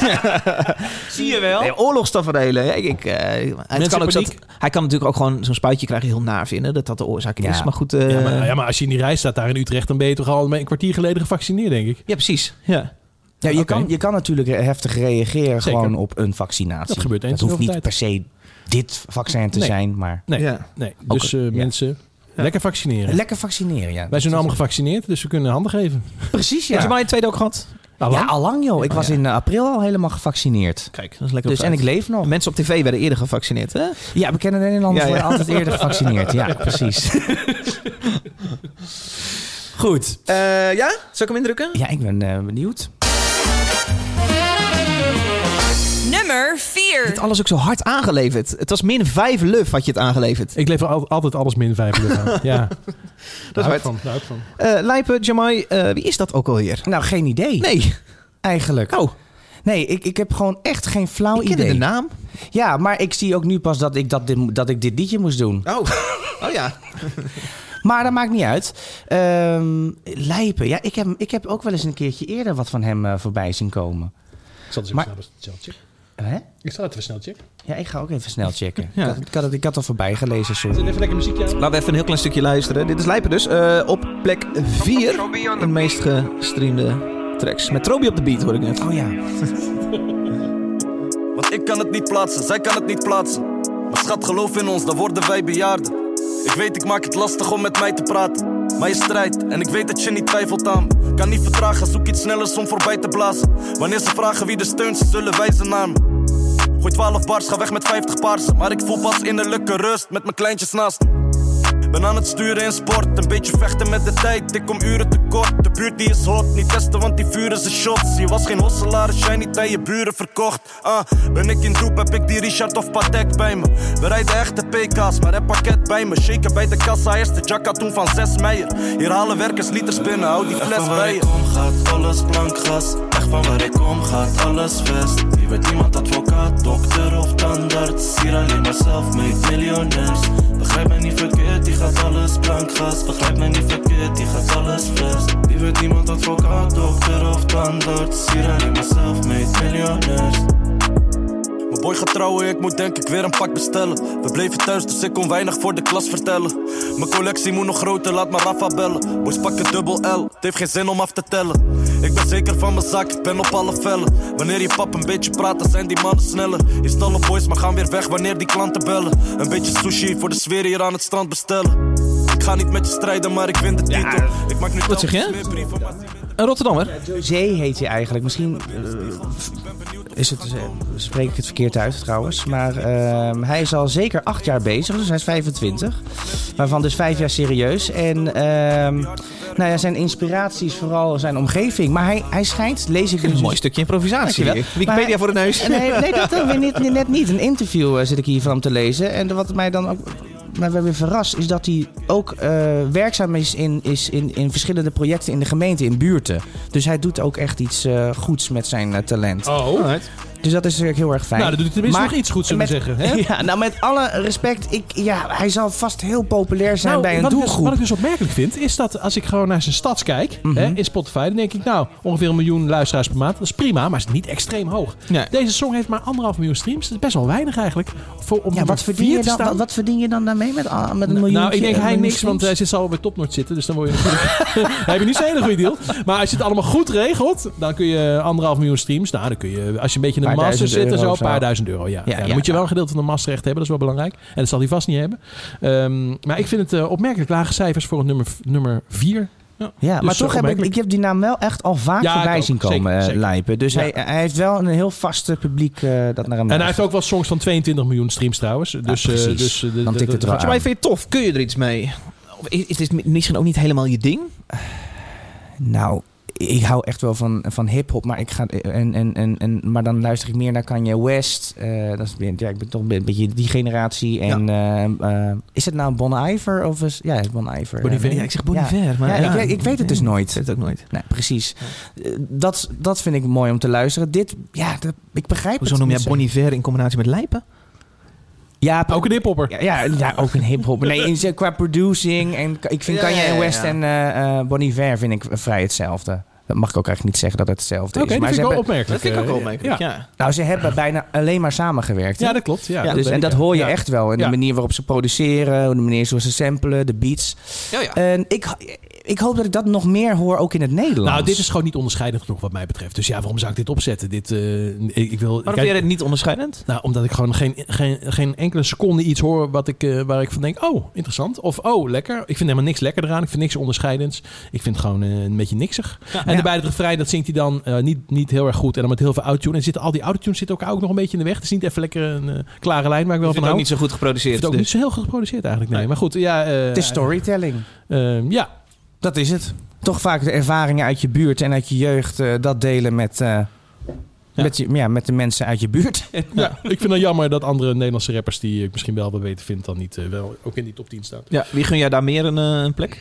[SPEAKER 1] Zie je wel.
[SPEAKER 3] Nee, oorlogstaferelen. Ja, Ik, ik, eh, het kan ook zo-
[SPEAKER 2] paniek.
[SPEAKER 3] hij kan natuurlijk ook gewoon zo'n spuitje krijgen heel naar vinden dat dat de oorzaak
[SPEAKER 1] Ja.
[SPEAKER 3] is. Maar goed, eh,
[SPEAKER 2] Ja maar, ja, maar als je in die rij staat daar in Utrecht, dan ben je toch al een kwartier geleden gevaccineerd, denk ik.
[SPEAKER 3] ja, precies. Ja.
[SPEAKER 1] Ja, je,
[SPEAKER 2] Oké.
[SPEAKER 1] kan, je kan natuurlijk heftig reageren
[SPEAKER 2] Zeker.
[SPEAKER 1] gewoon op een vaccinatie.
[SPEAKER 2] Dat gebeurt eens in
[SPEAKER 1] hoeft
[SPEAKER 2] de
[SPEAKER 1] niet
[SPEAKER 2] tijd.
[SPEAKER 1] per se dit vaccin te
[SPEAKER 2] Nee.
[SPEAKER 1] zijn, maar...
[SPEAKER 2] Nee,
[SPEAKER 3] Ja.
[SPEAKER 2] nee. dus eh,
[SPEAKER 1] ja.
[SPEAKER 2] mensen, lekker vaccineren.
[SPEAKER 1] Lekker vaccineren, ja.
[SPEAKER 2] Wij zijn allemaal gevaccineerd, dus we kunnen handen geven.
[SPEAKER 1] Precies,
[SPEAKER 3] Heb
[SPEAKER 1] ja.
[SPEAKER 3] je maar je tweede ook gehad?
[SPEAKER 2] Nou,
[SPEAKER 1] Ja, allang joh. Ik was
[SPEAKER 3] ja.
[SPEAKER 1] in eh, april al helemaal gevaccineerd.
[SPEAKER 3] Kijk, dat is lekker.
[SPEAKER 1] Dus, en ik leef nog.
[SPEAKER 3] Mensen op tv werden eerder gevaccineerd, hè?
[SPEAKER 1] Ja, bekende Nederlanders
[SPEAKER 3] Ja, ja.
[SPEAKER 1] worden altijd eerder gevaccineerd. Ja, precies.
[SPEAKER 3] Goed. ja? Zal ik hem indrukken?
[SPEAKER 1] Ja, ik ben eh, benieuwd.
[SPEAKER 4] Nummer
[SPEAKER 3] Het
[SPEAKER 4] 4.
[SPEAKER 3] alles ook zo hard aangeleverd. Het was min 5 luf had je het aangeleverd.
[SPEAKER 2] Ik leef al, altijd alles min 5 uur aan. Ja,
[SPEAKER 3] Dat
[SPEAKER 2] Daar hou ik van. daar hou ik van.
[SPEAKER 3] Eh Lijpen, Jamai, eh, wie is dat ook alweer? Oh,
[SPEAKER 1] Nou, geen idee.
[SPEAKER 3] Nee.
[SPEAKER 1] Eigenlijk.
[SPEAKER 3] Oh,
[SPEAKER 1] Nee, ik, ik heb gewoon echt geen flauw
[SPEAKER 3] ik kende
[SPEAKER 1] idee.
[SPEAKER 3] de naam.
[SPEAKER 1] Ja, maar ik zie ook nu pas dat ik, dat, dit, dat ik dit liedje moest doen.
[SPEAKER 3] Oh, oh ja.
[SPEAKER 1] Maar dat maakt niet uit. Ehm, Lijpen. Ja, ik heb, ik heb ook wel eens een keertje eerder wat van hem eh, voorbij zien komen.
[SPEAKER 2] Ik zal het
[SPEAKER 1] Maar-
[SPEAKER 2] even snel checken.
[SPEAKER 1] Hè?
[SPEAKER 2] Ik zal het even snel checken.
[SPEAKER 1] Ja, ik ga ook even snel checken.
[SPEAKER 3] Ja.
[SPEAKER 1] Ik, had, ik, had het, ik had al voorbij gelezen, sorry.
[SPEAKER 2] Zet even lekker muziekje aan.
[SPEAKER 3] Laten we even een heel klein stukje luisteren. Dit is Lijpen dus. eh, op plek 4. De meest gestreamde tracks. Met Trobi op de beat hoor ik net.
[SPEAKER 1] Oh ja.
[SPEAKER 7] Want ik kan het niet plaatsen, zij kan het niet plaatsen. Maar schat, geloof in ons, dan worden wij bejaarden. Ik weet, ik maak het lastig om met mij te praten. Maar je strijdt en ik weet dat je niet twijfelt aan me. Kan niet vertragen, zoek iets snellers om voorbij te blazen. Wanneer ze vragen wie de steunt, ze zullen wijzen naar me. Gooi 12 bars, ga weg met 50 paarsen. Maar ik voel pas innerlijke rust met mijn kleintjes naast me. Ben aan het sturen in sport, een beetje vechten met de tijd. Ik kom uren tekort, de buurt die is hot. Niet testen, want die vuren zijn shots. Je was geen hosselaar, als jij niet bij je buren verkocht. Ah, ben ik in doep, heb ik die Richard of Patek bij me. We rijden echte PK's, maar heb pakket bij me. Shaken bij de kassa, eerst de jacka, toen van 6 meijer. Hier halen werkers liters binnen, hou die fles bij je.
[SPEAKER 11] kom gaat alles blank gas. Echt van waar ik kom gaat alles vest. Hier werd niemand advocaat, dokter of tandarts. Hier alleen maar self-made miljonairs. Begrijp me niet verkeerd, die gaat alles blank gas. Begrijp me niet verkeerd, die gaat alles vest. Hier werd niemand advocaat, dokter of tandarts. Hier alleen maar self-made miljonairs.
[SPEAKER 7] Mijn boy gaat trouwen, ik moet denk ik weer een pak bestellen. We bleven thuis, dus ik kon weinig voor de klas vertellen. Mijn collectie moet nog groter, laat maar Rafa bellen. Boys pakken dubbel L, het heeft geen zin om af te tellen. Ik ben zeker van mijn zak, ik ben op alle vellen. Wanneer je pap een beetje praat, dan zijn die mannen sneller. Je stallen boys, maar gaan weer weg wanneer die klanten bellen. Een beetje sushi voor de sfeer hier aan het strand bestellen. Ik ga niet met je strijden, maar ik win de titel. ik maak nu
[SPEAKER 3] Wat zeg je?
[SPEAKER 7] telkens meer brieven, maar ze winnen.
[SPEAKER 3] Een Rotterdammer.
[SPEAKER 1] Zee heet hij eigenlijk. Misschien eh, is het, eh, spreek ik het verkeerd uit trouwens. Maar ehm, hij is al zeker acht jaar bezig. Dus hij is 25. Waarvan dus vijf jaar serieus. En ehm, nou ja, zijn inspiraties vooral zijn omgeving. Maar hij, hij schijnt, lees ik nu
[SPEAKER 3] Een
[SPEAKER 1] zo-
[SPEAKER 3] mooi stukje improvisatie.
[SPEAKER 1] Dankjewel.
[SPEAKER 3] hier. Wikipedia
[SPEAKER 1] Maar-
[SPEAKER 3] voor de neus.
[SPEAKER 1] Nee, nee, dat dan weer niet, net niet. Een interview eh, zit ik hier van hem te lezen. En wat mij dan ook maar weer verrast is dat hij ook eh, werkzaam is, in, is in, in verschillende projecten in de gemeente, in buurten. Dus hij doet ook echt iets eh, goeds met zijn eh, talent.
[SPEAKER 2] Oh.
[SPEAKER 1] Dus dat is natuurlijk heel erg fijn.
[SPEAKER 2] Nou, dat doet hij tenminste
[SPEAKER 1] Maar
[SPEAKER 2] nog iets goeds, zullen we
[SPEAKER 1] met-
[SPEAKER 2] zeggen. Hè?
[SPEAKER 1] Ja, nou met alle respect, ik, ja, hij zal vast heel populair zijn
[SPEAKER 2] Nou,
[SPEAKER 1] bij een
[SPEAKER 2] wat Ik dus,
[SPEAKER 1] doelgroep. Mhm.
[SPEAKER 2] wat ik dus opmerkelijk vind, is dat als ik gewoon naar zijn stads kijk hè, in Spotify, dan denk ik, nou, ongeveer een miljoen luisteraars per maand. Dat is prima, maar is niet extreem hoog.
[SPEAKER 3] Nee.
[SPEAKER 2] Deze song heeft maar anderhalf miljoen streams. Dat is best wel weinig eigenlijk. Voor, om
[SPEAKER 1] ja, wat
[SPEAKER 2] nummer
[SPEAKER 1] verdien,
[SPEAKER 2] dus vier
[SPEAKER 1] je
[SPEAKER 2] te
[SPEAKER 1] dan, wat,
[SPEAKER 2] staan.
[SPEAKER 1] wat verdien je dan daarmee met, ah, met een miljoen?
[SPEAKER 2] nou, ik denk hij niks, want hij zit zo bij Topnotch zitten. Dus dan word je natuurlijk... heb je niet zo'n hele goede deal. Maar als je het allemaal goed regelt, dan kun je anderhalf miljoen streams. Nou, dan kun je, als je een beetje in de
[SPEAKER 1] Paar
[SPEAKER 2] master
[SPEAKER 1] duizend
[SPEAKER 2] zit en
[SPEAKER 1] euro
[SPEAKER 2] zo,
[SPEAKER 1] of
[SPEAKER 2] een
[SPEAKER 1] zo.
[SPEAKER 2] paar duizend euro. Ja.
[SPEAKER 1] Ja,
[SPEAKER 2] Ja, dan
[SPEAKER 1] ja.
[SPEAKER 2] moet je wel een gedeelte van de masterrecht hebben, dat is wel belangrijk. En dat zal hij vast niet hebben. Ehm, maar ik vind het eh, opmerkelijk lage cijfers voor het nummer, nummer vier
[SPEAKER 1] Ja,
[SPEAKER 2] Dus, eh,
[SPEAKER 1] maar toch heb ik,
[SPEAKER 2] opmerkelijk.
[SPEAKER 1] ik heb die naam wel echt al vaak
[SPEAKER 2] Ja, ik
[SPEAKER 1] voorbij
[SPEAKER 2] ook.
[SPEAKER 1] zien komen,
[SPEAKER 2] Zeker,
[SPEAKER 1] eh,
[SPEAKER 2] zeker.
[SPEAKER 1] Lijpen. Dus
[SPEAKER 2] Ja.
[SPEAKER 1] hij, hij heeft wel een heel vaste publiek eh, dat naar hem
[SPEAKER 2] En hij
[SPEAKER 1] luistert.
[SPEAKER 2] heeft ook wel songs van 22 miljoen streams trouwens. Dus, eh,
[SPEAKER 1] precies.
[SPEAKER 2] dus eh, de-
[SPEAKER 1] Dan
[SPEAKER 2] de-
[SPEAKER 1] tikt
[SPEAKER 2] de-
[SPEAKER 1] het wel
[SPEAKER 2] de-
[SPEAKER 1] aan.
[SPEAKER 3] Maar vind je het tof? Kun je er iets mee? Of is, is dit mi- misschien ook niet helemaal je ding?
[SPEAKER 1] Nou, ik hou echt wel van, van hip-hop, maar, ik ga, en, en, en, en, maar dan luister ik meer naar Kanye West. Eh, dat is, weer- ja, ik ben toch een beetje die generatie. En, eh, eh, is het nou Bon Iver? Of is, ja, Bon Iver.
[SPEAKER 3] Bon Iver?
[SPEAKER 1] Eh,
[SPEAKER 3] Ja, ik zeg Bon Iver, maar
[SPEAKER 1] ja,
[SPEAKER 3] ja.
[SPEAKER 1] ik, ik weet het dus
[SPEAKER 3] Nee,
[SPEAKER 1] nooit.
[SPEAKER 3] ik weet het ook nooit.
[SPEAKER 1] Nee, precies. Eh, Dat, dat vind ik mooi om te luisteren. Dit, ja, dat, ik begrijp
[SPEAKER 3] Hoezo
[SPEAKER 1] het
[SPEAKER 3] noem jij
[SPEAKER 1] niet zo.
[SPEAKER 3] Bon Iver in combinatie met Lijpen?
[SPEAKER 1] Ja, ook
[SPEAKER 2] een hiphopper.
[SPEAKER 1] Ja, ja, ja, ook een hiphopper. Nee, in zin- qua producing. En k- ik vind
[SPEAKER 3] Ja,
[SPEAKER 1] Kanye
[SPEAKER 3] ja, ja,
[SPEAKER 1] West
[SPEAKER 3] ja.
[SPEAKER 1] en eh eh Bon Iver vind ik vrij hetzelfde. Dat mag ik ook eigenlijk niet zeggen dat het hetzelfde
[SPEAKER 2] Oké, dat
[SPEAKER 1] is. maar
[SPEAKER 2] vind ik
[SPEAKER 1] ze
[SPEAKER 2] wel
[SPEAKER 1] hebben-
[SPEAKER 2] opmerkelijk. eh,
[SPEAKER 3] Dat vind ik ook wel opmerkelijk, Eh, ja.
[SPEAKER 1] Nou, ze hebben bijna alleen maar samengewerkt. hè?
[SPEAKER 2] Ja, dat klopt, ja, dat
[SPEAKER 1] dus,
[SPEAKER 2] weet
[SPEAKER 1] en
[SPEAKER 2] ik,
[SPEAKER 1] dat
[SPEAKER 2] ja.
[SPEAKER 1] hoor je
[SPEAKER 2] Ja.
[SPEAKER 1] echt wel. En
[SPEAKER 2] Ja.
[SPEAKER 1] de manier waarop ze produceren, de manier zoals ze samplen, de beats. En ik, ik hoop dat ik dat nog meer hoor, ook in het Nederlands.
[SPEAKER 2] Nou, dit is gewoon niet onderscheidend genoeg wat mij betreft. Dus ja, waarom zou ik dit opzetten? Dit, eh, ik, ik wil,
[SPEAKER 3] Waarom vind jij dit niet onderscheidend?
[SPEAKER 2] Nou, omdat ik gewoon geen, geen, geen enkele seconde iets hoor wat ik, eh, waar ik van denk... oh, interessant. Of oh, lekker. Ik vind helemaal niks lekker eraan. Ik vind niks onderscheidends. Ik vind het gewoon eh, een beetje niksig. en
[SPEAKER 1] ja.
[SPEAKER 2] daarbij het refrein, dat zingt hij dan eh, niet, niet heel erg goed. En dan met heel veel autotune. En zitten, al die autotunes zitten ook, ook nog een beetje in de weg. Het is niet even lekker een eh, klare lijn waar ik wel van
[SPEAKER 3] Ik vind het
[SPEAKER 2] hou.
[SPEAKER 3] ook niet zo goed
[SPEAKER 2] Ik
[SPEAKER 3] geproduceerd.
[SPEAKER 2] vind het ook
[SPEAKER 3] dus.
[SPEAKER 2] niet zo heel goed geproduceerd eigenlijk. Nee, maar goed. Ja, eh,
[SPEAKER 1] het is storytelling.
[SPEAKER 2] ja.
[SPEAKER 1] Dat is het. Toch vaak de ervaringen uit je buurt en uit je jeugd eh, dat delen met, eh, met, je, ja, met de mensen uit je buurt.
[SPEAKER 2] Ja, ik vind het jammer dat andere Nederlandse rappers die ik misschien wel wel beter vind dan niet eh, wel ook in die top 10 staan.
[SPEAKER 3] Ja, wie gun jij daar meer een, eh, een plek?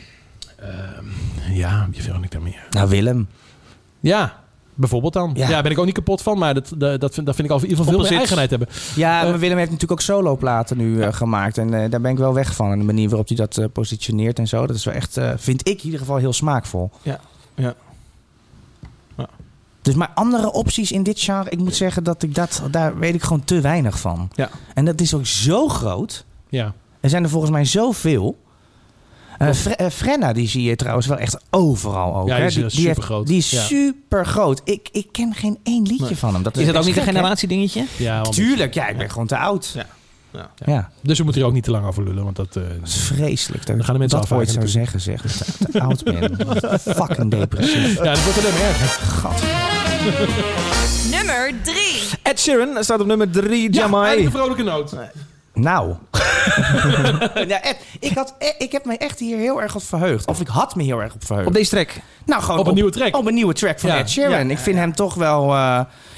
[SPEAKER 2] Ja, wie vind ik daar meer?
[SPEAKER 1] Nou, Willem.
[SPEAKER 2] Ja, bijvoorbeeld dan. Ja,
[SPEAKER 1] Ja.
[SPEAKER 2] daar ben ik ook niet kapot van, maar dat, dat, dat, vind, dat vind ik al in ieder geval veel meer
[SPEAKER 1] Opposites.
[SPEAKER 2] eigenheid hebben.
[SPEAKER 1] Ja, maar Willem heeft natuurlijk ook soloplaten nu eh, gemaakt. En eh, daar ben ik wel weg van. En de manier waarop hij dat eh, positioneert en zo. Dat is wel echt, eh, vind ik in ieder geval, heel smaakvol.
[SPEAKER 3] Ja, ja.
[SPEAKER 1] Dus maar andere opties in dit genre, ik moet zeggen dat ik dat, daar weet ik gewoon te weinig van.
[SPEAKER 3] Ja.
[SPEAKER 1] En dat is ook zo groot.
[SPEAKER 2] Ja.
[SPEAKER 1] Er zijn er volgens mij zoveel. Eh, Fre- eh, Frenna, die zie je trouwens wel echt overal ook.
[SPEAKER 2] Ja, die
[SPEAKER 1] hè?
[SPEAKER 2] is, eh,
[SPEAKER 1] heeft-
[SPEAKER 2] supergroot.
[SPEAKER 1] Die is
[SPEAKER 2] Ja.
[SPEAKER 1] super groot. Ik, ik ken geen één liedje
[SPEAKER 2] Nee.
[SPEAKER 1] van hem. Dat
[SPEAKER 3] Is dat ook niet een
[SPEAKER 1] gek, hè?
[SPEAKER 3] generatiedingetje?
[SPEAKER 2] Ja, want-
[SPEAKER 1] Tuurlijk, ja, ik ben gewoon te oud.
[SPEAKER 3] Ja.
[SPEAKER 1] Ja.
[SPEAKER 2] Dus we moeten hier ook niet te lang over lullen, want dat... eh,
[SPEAKER 1] Vreselijk. Dat,
[SPEAKER 2] Dan gaan de mensen
[SPEAKER 1] dat
[SPEAKER 2] afhaken
[SPEAKER 1] ooit zou
[SPEAKER 2] natuurlijk.
[SPEAKER 1] zeggen, zeg. Dat ik te oud ben. Fucking depressief.
[SPEAKER 2] Ja, dat wordt alleen maar erger.
[SPEAKER 4] Nummer 3.
[SPEAKER 3] Ed Sheeran staat op nummer 3, Jamai.
[SPEAKER 2] eigenlijk een vrolijke noot.
[SPEAKER 1] Nou. ja, Ed, ik, had, eh, ik heb me echt hier heel erg op verheugd. Of ik had me heel erg op verheugd.
[SPEAKER 3] Op deze track.
[SPEAKER 1] nou, gewoon
[SPEAKER 2] Op een nieuwe track.
[SPEAKER 1] Op een nieuwe track van
[SPEAKER 2] Ja,
[SPEAKER 1] Ed Sheeran.
[SPEAKER 2] ja,
[SPEAKER 1] ik vind hem toch wel... eh,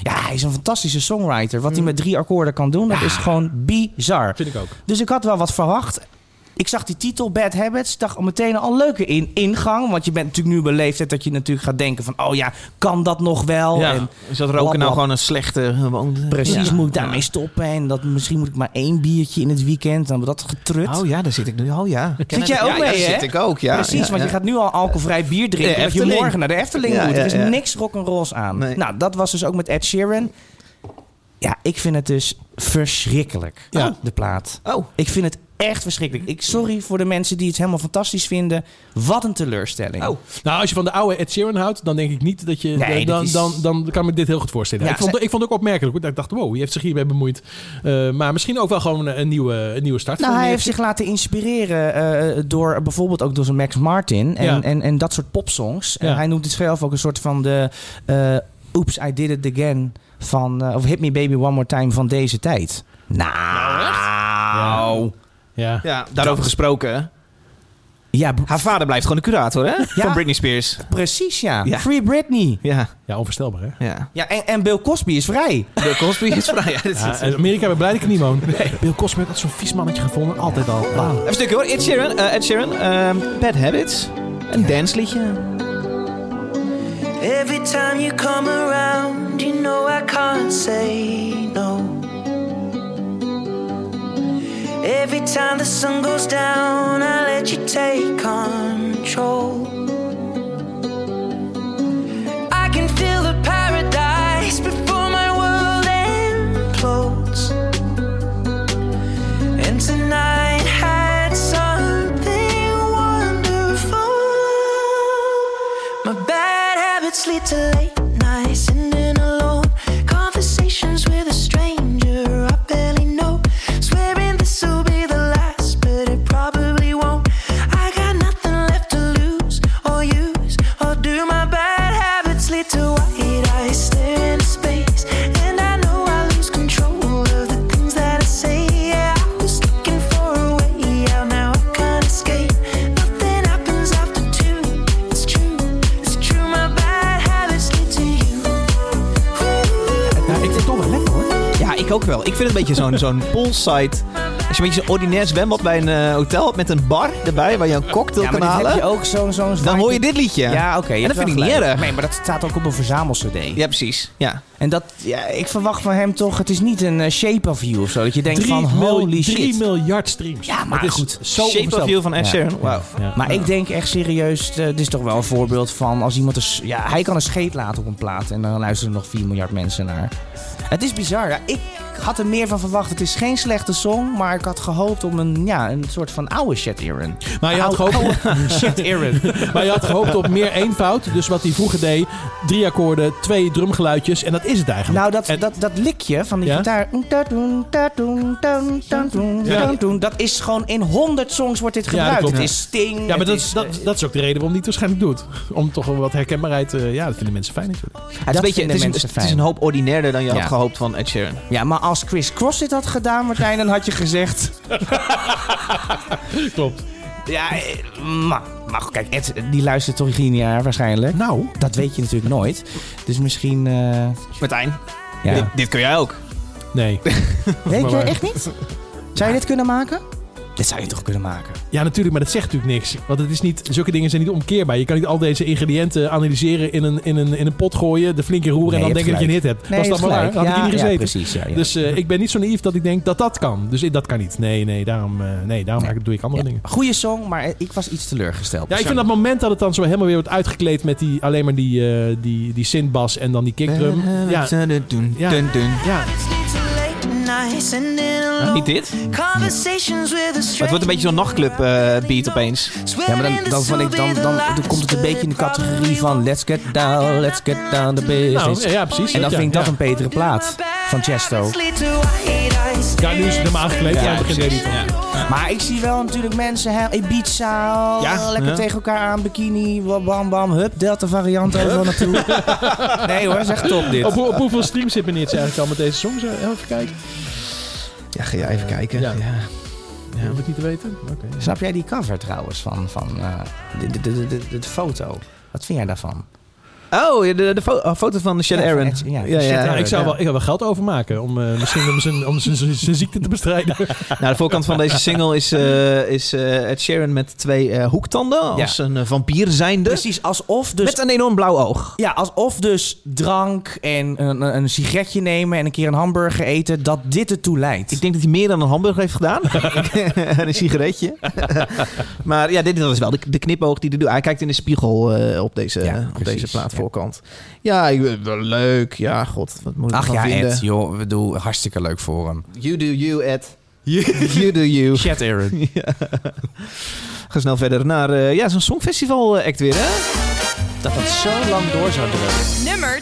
[SPEAKER 1] ja, hij is een fantastische songwriter. Wat hij met drie akkoorden kan doen, dat is gewoon bizar.
[SPEAKER 2] Vind Mm. ik ook.
[SPEAKER 1] Dus ik had wel wat verwacht. Ik zag die titel Bad Habits, dacht al meteen al een leuke in, ingang. Want je bent natuurlijk nu op een leeftijd dat je natuurlijk gaat denken van... oh ja, kan dat nog wel?
[SPEAKER 3] Ja.
[SPEAKER 1] En
[SPEAKER 3] Is dat roken
[SPEAKER 1] Blabla.
[SPEAKER 3] nou gewoon een slechte... gewoon-
[SPEAKER 1] precies,
[SPEAKER 3] Ja.
[SPEAKER 1] moet ik daarmee stoppen? En dat, misschien moet ik maar één biertje in het weekend. Dan wordt dat getrut.
[SPEAKER 3] Oh ja, daar zit ik nu. Oh ja.
[SPEAKER 1] Zit jij ook
[SPEAKER 3] ja,
[SPEAKER 1] mee,
[SPEAKER 3] daar
[SPEAKER 1] hè?
[SPEAKER 3] zit ik ook, ja.
[SPEAKER 1] precies,
[SPEAKER 3] Ja,
[SPEAKER 1] want
[SPEAKER 3] ja.
[SPEAKER 1] je gaat nu al alcoholvrij bier drinken...
[SPEAKER 3] De
[SPEAKER 1] dat je
[SPEAKER 3] Efteling.
[SPEAKER 1] morgen naar de Efteling
[SPEAKER 3] Ja,
[SPEAKER 1] moet. Er
[SPEAKER 3] ja,
[SPEAKER 1] is
[SPEAKER 3] ja.
[SPEAKER 1] niks rock'n'rolls aan.
[SPEAKER 3] Nee.
[SPEAKER 1] Nou, dat was dus ook met Ed Sheeran. Ja, ik vind het dus verschrikkelijk,
[SPEAKER 3] Ja.
[SPEAKER 1] Oh, de plaat.
[SPEAKER 3] Oh.
[SPEAKER 1] Ik vind het echt verschrikkelijk. Ik, sorry voor de mensen die het helemaal fantastisch vinden. Wat een teleurstelling.
[SPEAKER 3] Oh.
[SPEAKER 2] Nou, als je van de oude Ed Sheeran houdt, dan denk ik niet dat je...
[SPEAKER 1] Nee,
[SPEAKER 2] dan,
[SPEAKER 1] dat is-
[SPEAKER 2] dan, dan kan ik me dit heel goed voorstellen.
[SPEAKER 1] Ja,
[SPEAKER 2] ik, vond,
[SPEAKER 1] ze-
[SPEAKER 2] ik vond het ook opmerkelijk. hoor, dat Ik dacht, wow, die heeft zich hiermee bemoeid. Eh, maar misschien ook wel gewoon een nieuwe, een nieuwe start.
[SPEAKER 1] Nou,
[SPEAKER 2] voor
[SPEAKER 1] hij
[SPEAKER 2] die
[SPEAKER 1] heeft zich laten inspireren eh, door bijvoorbeeld ook door zijn Max Martin en,
[SPEAKER 2] Ja.
[SPEAKER 1] en, en dat soort popsongs. En
[SPEAKER 2] Ja.
[SPEAKER 1] hij noemt het zelf ook een soort van de eh, Oops, I Did It Again van, eh, of Hit Me Baby One More Time van deze tijd. Nou,
[SPEAKER 2] Ja.
[SPEAKER 3] Nou. Ja, daarover gesproken.
[SPEAKER 1] ja, b-
[SPEAKER 3] Haar vader blijft gewoon de curator, hè? Van Britney Spears.
[SPEAKER 1] precies ja.
[SPEAKER 3] Ja.
[SPEAKER 1] Free Britney.
[SPEAKER 3] Ja,
[SPEAKER 2] ja, onvoorstelbaar, hè?
[SPEAKER 3] ja.
[SPEAKER 1] Ja, en, en Bill Cosby is vrij.
[SPEAKER 3] De Cosby is vrij. Ja, dit is-
[SPEAKER 2] Ja, in Amerika ben blij dat ik er niet woon. Bill Cosby had zo'n vies mannetje gevonden. Altijd al. Wauw.
[SPEAKER 3] Even een stukje hoor. Ed Sheeran, eh, Ed Sheeran ehm, Bad Habits. Een dansliedje.
[SPEAKER 6] Every time you come around, you know I can't say no. Every time the sun goes down, I let you take control. I can feel the paradise before my world implodes. And tonight had something wonderful. My bad habits lead to late nights and in alone conversations with a stranger I barely know. Swearing this will be the last, but it probably won't. I got nothing left to lose.
[SPEAKER 3] ook wel. Ik vind het een beetje zo'n zo'n poolside. Als je een beetje zo'n ordinair zwembad bij een eh, hotel hebt met een bar erbij waar je een cocktail
[SPEAKER 1] Ja, maar
[SPEAKER 3] kan
[SPEAKER 1] dit
[SPEAKER 3] halen.
[SPEAKER 1] heb je ook zo'n... zo'n
[SPEAKER 3] dan hoor je dit liedje.
[SPEAKER 1] Ja, oké. je
[SPEAKER 3] en dat
[SPEAKER 1] hebt
[SPEAKER 3] vind ik
[SPEAKER 1] wel
[SPEAKER 3] niet
[SPEAKER 1] gelijk.
[SPEAKER 3] erg.
[SPEAKER 1] Nee, maar dat staat ook op een verzamel-cd.
[SPEAKER 3] Ja, precies. Ja.
[SPEAKER 1] En dat, ja, ik verwacht van hem toch... Het is niet een eh, shape of you of zo. Dat je denkt
[SPEAKER 2] Drie
[SPEAKER 1] van,
[SPEAKER 2] mil-
[SPEAKER 1] holy shit.
[SPEAKER 2] drie miljard streams.
[SPEAKER 1] Ja, maar
[SPEAKER 2] Het is
[SPEAKER 1] goed.
[SPEAKER 2] Zo onvoorstelbaar.
[SPEAKER 1] Ja.
[SPEAKER 3] Wauw.
[SPEAKER 1] Maar ik denk echt serieus, eh, dit is toch wel een voorbeeld van als iemand een, s- ja, hij kan een scheet laten op een plaat en dan luisteren er nog 4 miljard mensen naar. Het is bizar. Ja. Ik had er meer van verwacht. Het is geen slechte song, maar ik had gehoopt om een, ja, een soort van oude Shed Aaron.
[SPEAKER 2] Maar je had
[SPEAKER 1] Oude-
[SPEAKER 2] gehoopt-
[SPEAKER 1] oude Shed Aaron.
[SPEAKER 2] Maar je had gehoopt op meer eenvoud. Dus wat hij vroeger deed, drie akkoorden, twee drumgeluidjes. En dat is het eigenlijk.
[SPEAKER 1] Nou, dat, dat, dat likje van die
[SPEAKER 2] Ja?
[SPEAKER 1] gitaar. tatoen, tatoen, tatoen, tatoen,
[SPEAKER 2] Ja.
[SPEAKER 1] tatoen, Dat is gewoon in 100 songs wordt dit gebruikt.
[SPEAKER 2] klopt.
[SPEAKER 1] het is Sting.
[SPEAKER 2] Ja, maar
[SPEAKER 1] het
[SPEAKER 2] dat,
[SPEAKER 1] is,
[SPEAKER 2] is, dat, dat is ook de reden waarom hij het waarschijnlijk doet. Om toch wel wat herkenbaarheid... eh, ja, dat vinden mensen fijn natuurlijk.
[SPEAKER 1] Ja, het is een beetje- het is een- het is een
[SPEAKER 3] hoop ordinairder dan je
[SPEAKER 1] had
[SPEAKER 3] gehoopt van Ed Sheeran.
[SPEAKER 1] Ja, maar als Chris Cross dit had gedaan, Martijn, dan had je gezegd...
[SPEAKER 2] Klopt.
[SPEAKER 1] Ja, eh, maar, maar goed, kijk, Ed, die luistert toch geen jaar waarschijnlijk?
[SPEAKER 2] Nou.
[SPEAKER 1] Dat weet je natuurlijk nooit. Dus misschien... eh,
[SPEAKER 3] Martijn,
[SPEAKER 1] Ja.
[SPEAKER 3] dit, dit kun jij ook.
[SPEAKER 2] Nee.
[SPEAKER 1] Weet je
[SPEAKER 2] Maar-
[SPEAKER 1] echt niet? Zou je dit kunnen maken? Dit zou je toch kunnen maken?
[SPEAKER 2] Ja, natuurlijk, maar dat zegt natuurlijk niks. Want het is niet, zulke dingen zijn niet omkeerbaar. Je kan niet al deze ingrediënten analyseren, in een, in een, in een pot gooien, de flinke roeren
[SPEAKER 1] Nee,
[SPEAKER 2] en dan
[SPEAKER 1] je
[SPEAKER 2] denken dat
[SPEAKER 1] hebt
[SPEAKER 2] je een hit
[SPEAKER 1] gelijk.
[SPEAKER 2] hebt.
[SPEAKER 1] Nee,
[SPEAKER 2] dat is
[SPEAKER 1] je hebt
[SPEAKER 2] dan maar waar. Dan had ik hier
[SPEAKER 1] gelijk.
[SPEAKER 2] niet
[SPEAKER 1] Ja, ja,
[SPEAKER 2] gezeten.
[SPEAKER 1] precies, ja, ja.
[SPEAKER 2] Dus eh, ik ben niet zo naïef dat ik denk dat dat kan. Dus ik- dat kan niet. Nee, nee, daarom, eh, nee, daarom maak ik- doe ik andere dingen.
[SPEAKER 1] Goeie song, maar eh, ik was iets teleurgesteld.
[SPEAKER 2] Ja, ik vind dat moment dat het dan zo helemaal weer wordt uitgekleed met die, alleen maar die, eh die, die synthbas en dan die kickdrum. Ja, ja. ja.
[SPEAKER 3] Nou, Niet dit?
[SPEAKER 4] Conversations with a
[SPEAKER 3] Maar het wordt een beetje zo'n nachtclub eh, beat opeens.
[SPEAKER 1] Ja, maar dan, dan, vond ik, dan, dan, dan komt het een beetje in de categorie van let's get down, let's get down the business.
[SPEAKER 2] Nou, ja, precies.
[SPEAKER 1] En dan
[SPEAKER 2] Ja,
[SPEAKER 1] vind ik dat
[SPEAKER 2] ja.
[SPEAKER 1] een betere plaat van Chesto.
[SPEAKER 2] Ja, nu is het helemaal aangekleed. Ja, begint
[SPEAKER 3] precies.
[SPEAKER 2] Eddie.
[SPEAKER 1] Maar ik zie wel natuurlijk mensen, hè, Ibiza,
[SPEAKER 3] Ja,
[SPEAKER 1] lekker
[SPEAKER 3] ja.
[SPEAKER 1] tegen elkaar aan, bikini, wa- bam bam, hup, delta variant overal naartoe. nee hoor, zeg top dit.
[SPEAKER 2] Op, hoe- op hoeveel streams zit meneer eigenlijk al met deze songs? Eh, Even kijken.
[SPEAKER 3] Ja, ga jij even kijken.
[SPEAKER 2] Ja.
[SPEAKER 3] Ja.
[SPEAKER 2] Ja. Hoef ik niet te weten? Oké.
[SPEAKER 1] Snap jij die cover trouwens van, van eh, de, de, de, de, de- de foto? Wat vind jij daarvan?
[SPEAKER 3] Oh, de, de fo- oh, foto van Shed
[SPEAKER 1] Ja, van
[SPEAKER 3] Aaron.
[SPEAKER 1] Ed- ja, van Shed
[SPEAKER 2] Ja, Nou, ik, zou
[SPEAKER 1] ja.
[SPEAKER 2] wel, ik zou wel geld overmaken om eh, misschien om zijn, om zijn, zijn- zijn ziekte te bestrijden.
[SPEAKER 3] Nou, de voorkant van deze single is, eh is eh, Ed Sheeran met twee eh, hoektanden. Als een eh, vampier zijnde.
[SPEAKER 1] Precies, alsof dus...
[SPEAKER 3] Met een enorm blauw oog.
[SPEAKER 1] Ja, alsof dus drank en een, een, een sigaretje nemen en een keer een hamburger eten, dat dit ertoe leidt.
[SPEAKER 3] Ik denk dat hij meer dan een hamburger heeft gedaan. en een sigaretje. maar ja, dit was wel de, de knipoog die hij doet. Hij kijkt in de spiegel eh, op, deze,
[SPEAKER 1] Ja,
[SPEAKER 3] op deze
[SPEAKER 1] precies, ja.
[SPEAKER 3] plaatvoorkant. Ja, ik- wel leuk. Ja, god, wat moet ik
[SPEAKER 1] Ach
[SPEAKER 3] ervan
[SPEAKER 1] ja,
[SPEAKER 3] vinden?
[SPEAKER 1] Ed, joh, we doen hartstikke leuk voor hem.
[SPEAKER 3] You do you, Ed. You, do you.
[SPEAKER 1] Chat Aaron.
[SPEAKER 3] Ga snel verder naar eh, ja, zo'n songfestival eh, act weer, hè? Dat het zo lang door zou drukken.
[SPEAKER 4] Nummer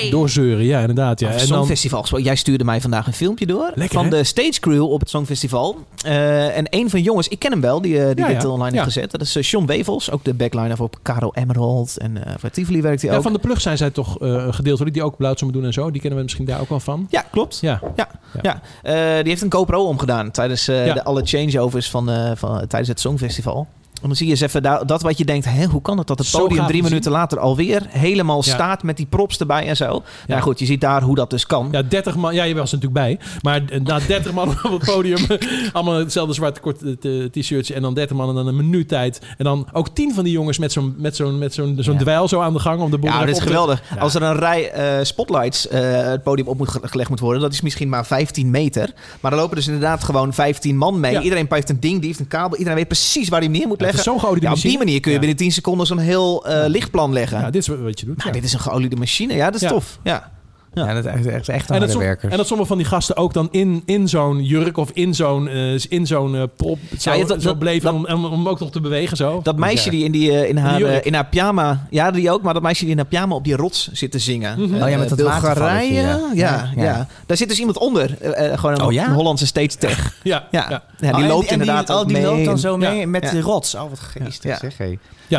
[SPEAKER 4] 2.
[SPEAKER 2] Doorzeuren, ja, inderdaad. Ja. En dan,
[SPEAKER 3] Songfestival gesproken. Jij stuurde mij vandaag een filmpje door.
[SPEAKER 2] Lekker,
[SPEAKER 3] van
[SPEAKER 2] hè?
[SPEAKER 3] de stage crew op het Songfestival. Eh, en een van de jongens, ik ken hem wel, die, eh, die
[SPEAKER 2] Ja,
[SPEAKER 3] dit
[SPEAKER 2] ja.
[SPEAKER 3] online heeft
[SPEAKER 2] Ja.
[SPEAKER 3] gezet. Dat is eh, Sean Wevels, ook de backliner voor Caro Emerald. En eh voor Tivoli werkt hij
[SPEAKER 2] ja,
[SPEAKER 3] ook.
[SPEAKER 2] van de plug zijn zij toch eh gedeeltelijk die ook blauwzomen doen en zo. Die kennen we misschien daar ook wel van.
[SPEAKER 3] Ja, klopt.
[SPEAKER 2] Ja,
[SPEAKER 3] Ja, ja. Eh, die heeft een GoPro omgedaan tijdens eh,
[SPEAKER 2] Ja.
[SPEAKER 3] de, alle changeovers van, eh, van, tijdens het Songfestival. En dan zie je eens even da- dat wat je denkt, hè, hoe kan het dat het
[SPEAKER 2] Zo
[SPEAKER 3] podium
[SPEAKER 2] gaaf
[SPEAKER 3] drie
[SPEAKER 2] te zien.
[SPEAKER 3] minuten later alweer helemaal
[SPEAKER 2] Ja.
[SPEAKER 3] staat met die props erbij en zo.
[SPEAKER 2] Ja.
[SPEAKER 3] Nou goed, je ziet daar hoe dat dus kan.
[SPEAKER 2] ja 30 man. Ja, je was er natuurlijk bij. Maar eh, na 30 man op het podium. allemaal hetzelfde zwarte kort eh, t-shirts. En dan 30 man en dan een minuut tijd. En dan ook 10 van die jongens met zo'n met zo'n met zo'n zo'n dweil zo aan de gang. Om de boel
[SPEAKER 3] Ja,
[SPEAKER 2] nog
[SPEAKER 3] dat is
[SPEAKER 2] op te-
[SPEAKER 3] geweldig.
[SPEAKER 2] Ja.
[SPEAKER 3] Als er een rij eh, spotlights eh, het podium op moet ge- gelegd moet worden, dat is misschien maar 15 meter. Maar er lopen dus inderdaad gewoon 15 man mee.
[SPEAKER 2] Ja.
[SPEAKER 3] Iedereen heeft een ding, die heeft een kabel. Iedereen weet precies waar hij hem neer moet
[SPEAKER 2] Ja, het
[SPEAKER 3] leggen.
[SPEAKER 2] is zo'n geoliede
[SPEAKER 3] Ja, op die
[SPEAKER 2] machine.
[SPEAKER 3] manier kun je
[SPEAKER 2] Ja.
[SPEAKER 3] binnen 10 seconden zo'n heel eh, lichtplan leggen.
[SPEAKER 2] Ja, dit is wat je doet.
[SPEAKER 3] nou,
[SPEAKER 2] ja.
[SPEAKER 3] dit is een geoliede machine. Ja, dat is
[SPEAKER 2] Ja.
[SPEAKER 3] tof. Ja.
[SPEAKER 1] Ja, dat is echt, echt, echt
[SPEAKER 2] En dat,
[SPEAKER 1] harde
[SPEAKER 2] som-
[SPEAKER 1] werkers.
[SPEAKER 2] en dat sommige van die gasten ook dan in, in zo'n jurk of in zo'n eh, in zo'n eh, prop zo,
[SPEAKER 3] Ja, dat-
[SPEAKER 2] zo
[SPEAKER 3] dat-
[SPEAKER 2] bleven
[SPEAKER 3] dat-
[SPEAKER 2] om, om, om ook nog te bewegen zo.
[SPEAKER 3] Dat meisje die in, die, eh, in, haar,
[SPEAKER 2] jurk.
[SPEAKER 3] eh, in haar pyjama... Ja, die ook. Maar dat meisje die in haar pyjama op die rots zit te zingen.
[SPEAKER 2] Mhm.
[SPEAKER 3] Eh,
[SPEAKER 1] Oh ja, met dat
[SPEAKER 3] Bulgarije.
[SPEAKER 1] watervalletje,
[SPEAKER 3] Ja.
[SPEAKER 1] ja.
[SPEAKER 3] Ja,
[SPEAKER 1] Ja, ja.
[SPEAKER 3] Daar zit dus iemand onder. Eh, eh, gewoon een,
[SPEAKER 1] Oh ja?
[SPEAKER 3] een Hollandse stage tech.
[SPEAKER 2] Ja, ja.
[SPEAKER 3] Ja,
[SPEAKER 2] ja.
[SPEAKER 3] ja. die
[SPEAKER 1] Oh, en
[SPEAKER 3] loopt
[SPEAKER 1] en
[SPEAKER 3] inderdaad
[SPEAKER 1] die,
[SPEAKER 3] ook
[SPEAKER 1] oh, die
[SPEAKER 3] mee.
[SPEAKER 1] loopt dan
[SPEAKER 3] en-
[SPEAKER 1] zo mee
[SPEAKER 2] Ja.
[SPEAKER 1] met
[SPEAKER 3] Ja.
[SPEAKER 1] de rots. Oh, wat geestig
[SPEAKER 3] Ja.
[SPEAKER 1] zeg. hé.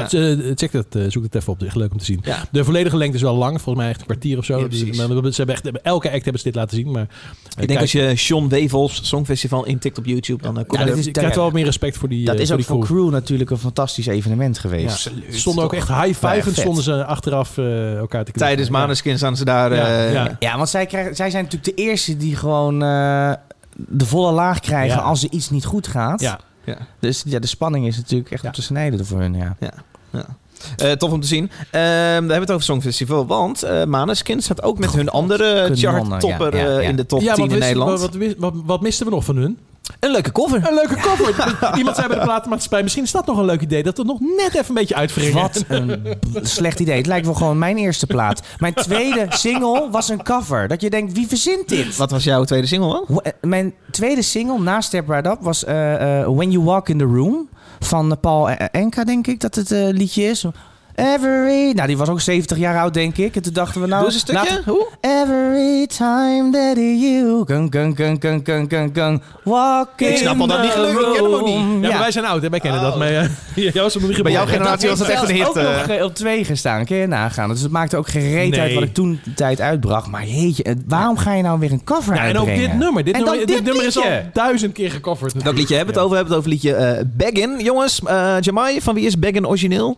[SPEAKER 2] dus, eh, check dat, eh, zoek dat even op. Leuk om te zien.
[SPEAKER 3] Ja.
[SPEAKER 2] De volledige lengte is wel lang, volgens mij echt een kwartier of zo.
[SPEAKER 3] Ja,
[SPEAKER 2] Dus-
[SPEAKER 3] precies.
[SPEAKER 2] maar we hebben, ze hebben echt, hebben- elke act hebben ze dit laten zien. Maar, eh,
[SPEAKER 3] Ik denk als je Sean Wevels Songfestival intikt op YouTube, dan eh, kom
[SPEAKER 2] Ja,
[SPEAKER 3] je
[SPEAKER 2] dat is, ik krijg wel meer respect voor die
[SPEAKER 3] Dat
[SPEAKER 2] eh,
[SPEAKER 3] is
[SPEAKER 1] is ook
[SPEAKER 2] die
[SPEAKER 1] voor
[SPEAKER 2] crew.
[SPEAKER 1] crew natuurlijk een fantastisch evenement
[SPEAKER 2] Ja.
[SPEAKER 1] geweest.
[SPEAKER 2] Ze stonden ook echt high
[SPEAKER 1] Ja,
[SPEAKER 2] five en
[SPEAKER 1] vet.
[SPEAKER 2] stonden ze achteraf eh, elkaar te knippen.
[SPEAKER 3] Tijdens Maneskin staan ze daar...
[SPEAKER 2] Ja,
[SPEAKER 3] eh,
[SPEAKER 2] ja.
[SPEAKER 1] Ja, want zij, krijgen, zij zijn natuurlijk de eerste die gewoon eh, de volle laag krijgen
[SPEAKER 3] Ja.
[SPEAKER 1] als er iets niet goed gaat.
[SPEAKER 3] Ja. Ja.
[SPEAKER 1] Dus ja, de spanning is natuurlijk echt op te snijden voor hun. Ja.
[SPEAKER 3] Eh, tof om te zien. Ehm we hebben het over Songfestival, want eh Maneskin staat ook met hun andere
[SPEAKER 2] Kanonnen,
[SPEAKER 3] charttopper
[SPEAKER 2] ja, ja,
[SPEAKER 3] eh,
[SPEAKER 2] ja.
[SPEAKER 3] in de top
[SPEAKER 2] Ja,
[SPEAKER 3] 10
[SPEAKER 2] wat
[SPEAKER 3] in
[SPEAKER 2] wist-
[SPEAKER 3] Nederland.
[SPEAKER 2] Wat, wat, wat, wat misten we nog van hun?
[SPEAKER 3] Een leuke cover.
[SPEAKER 2] Een leuke cover. Iemand zei bij de platenmaatschappij, misschien is dat nog een leuk idee. Dat we nog net even een beetje uitvringen.
[SPEAKER 1] Wat een slecht idee. Het lijkt wel gewoon mijn eerste plaat. Mijn tweede single was een cover. Dat je denkt, wie verzint dit? eh,
[SPEAKER 3] Wat was jouw tweede single
[SPEAKER 1] Nou,
[SPEAKER 3] dan?
[SPEAKER 1] Mijn tweede single na Step Right Up was eh, eh, When You Walk in the Room van eh, Paul E- Enka, denk ik dat het eh, liedje is. Every... Nou, die was ook 70 jaar oud, denk ik. En toen dachten we, nou...
[SPEAKER 3] Doe eens een stukje.
[SPEAKER 1] laten-
[SPEAKER 3] Hoe?
[SPEAKER 1] Every time that you gung, gung, gung, gung, gung, gung, gung, walk in
[SPEAKER 2] Ik snap al dat
[SPEAKER 1] the
[SPEAKER 2] niet gelukt. Ik ken hem ook niet. Ja,
[SPEAKER 1] room.
[SPEAKER 2] maar wij zijn oud, hè? wij kennen dat. Maar, eh, jou is het nog niet
[SPEAKER 3] Oh. Bij jouw
[SPEAKER 2] geboren.
[SPEAKER 3] generatie was het echt een hit.
[SPEAKER 1] ook
[SPEAKER 3] eh.
[SPEAKER 1] nog eh, op twee gestaan, kun je nagaan. Dus het maakte ook gereed
[SPEAKER 2] Nee.
[SPEAKER 1] uit wat ik toen de tijd uitbracht. Maar jeetje, het- waarom ga je nou weer een cover
[SPEAKER 2] Ja, en ook
[SPEAKER 1] uitbrengen?
[SPEAKER 2] dit nummer. Dit
[SPEAKER 1] En dan
[SPEAKER 2] nummer, dit nummer is
[SPEAKER 1] liedje.
[SPEAKER 2] al duizend keer gecoverd.
[SPEAKER 3] Welk liedje hebben we het over? We hebben het over liedje eh Baggin. Jongens, eh Jamai, van wie is Baggin origineel?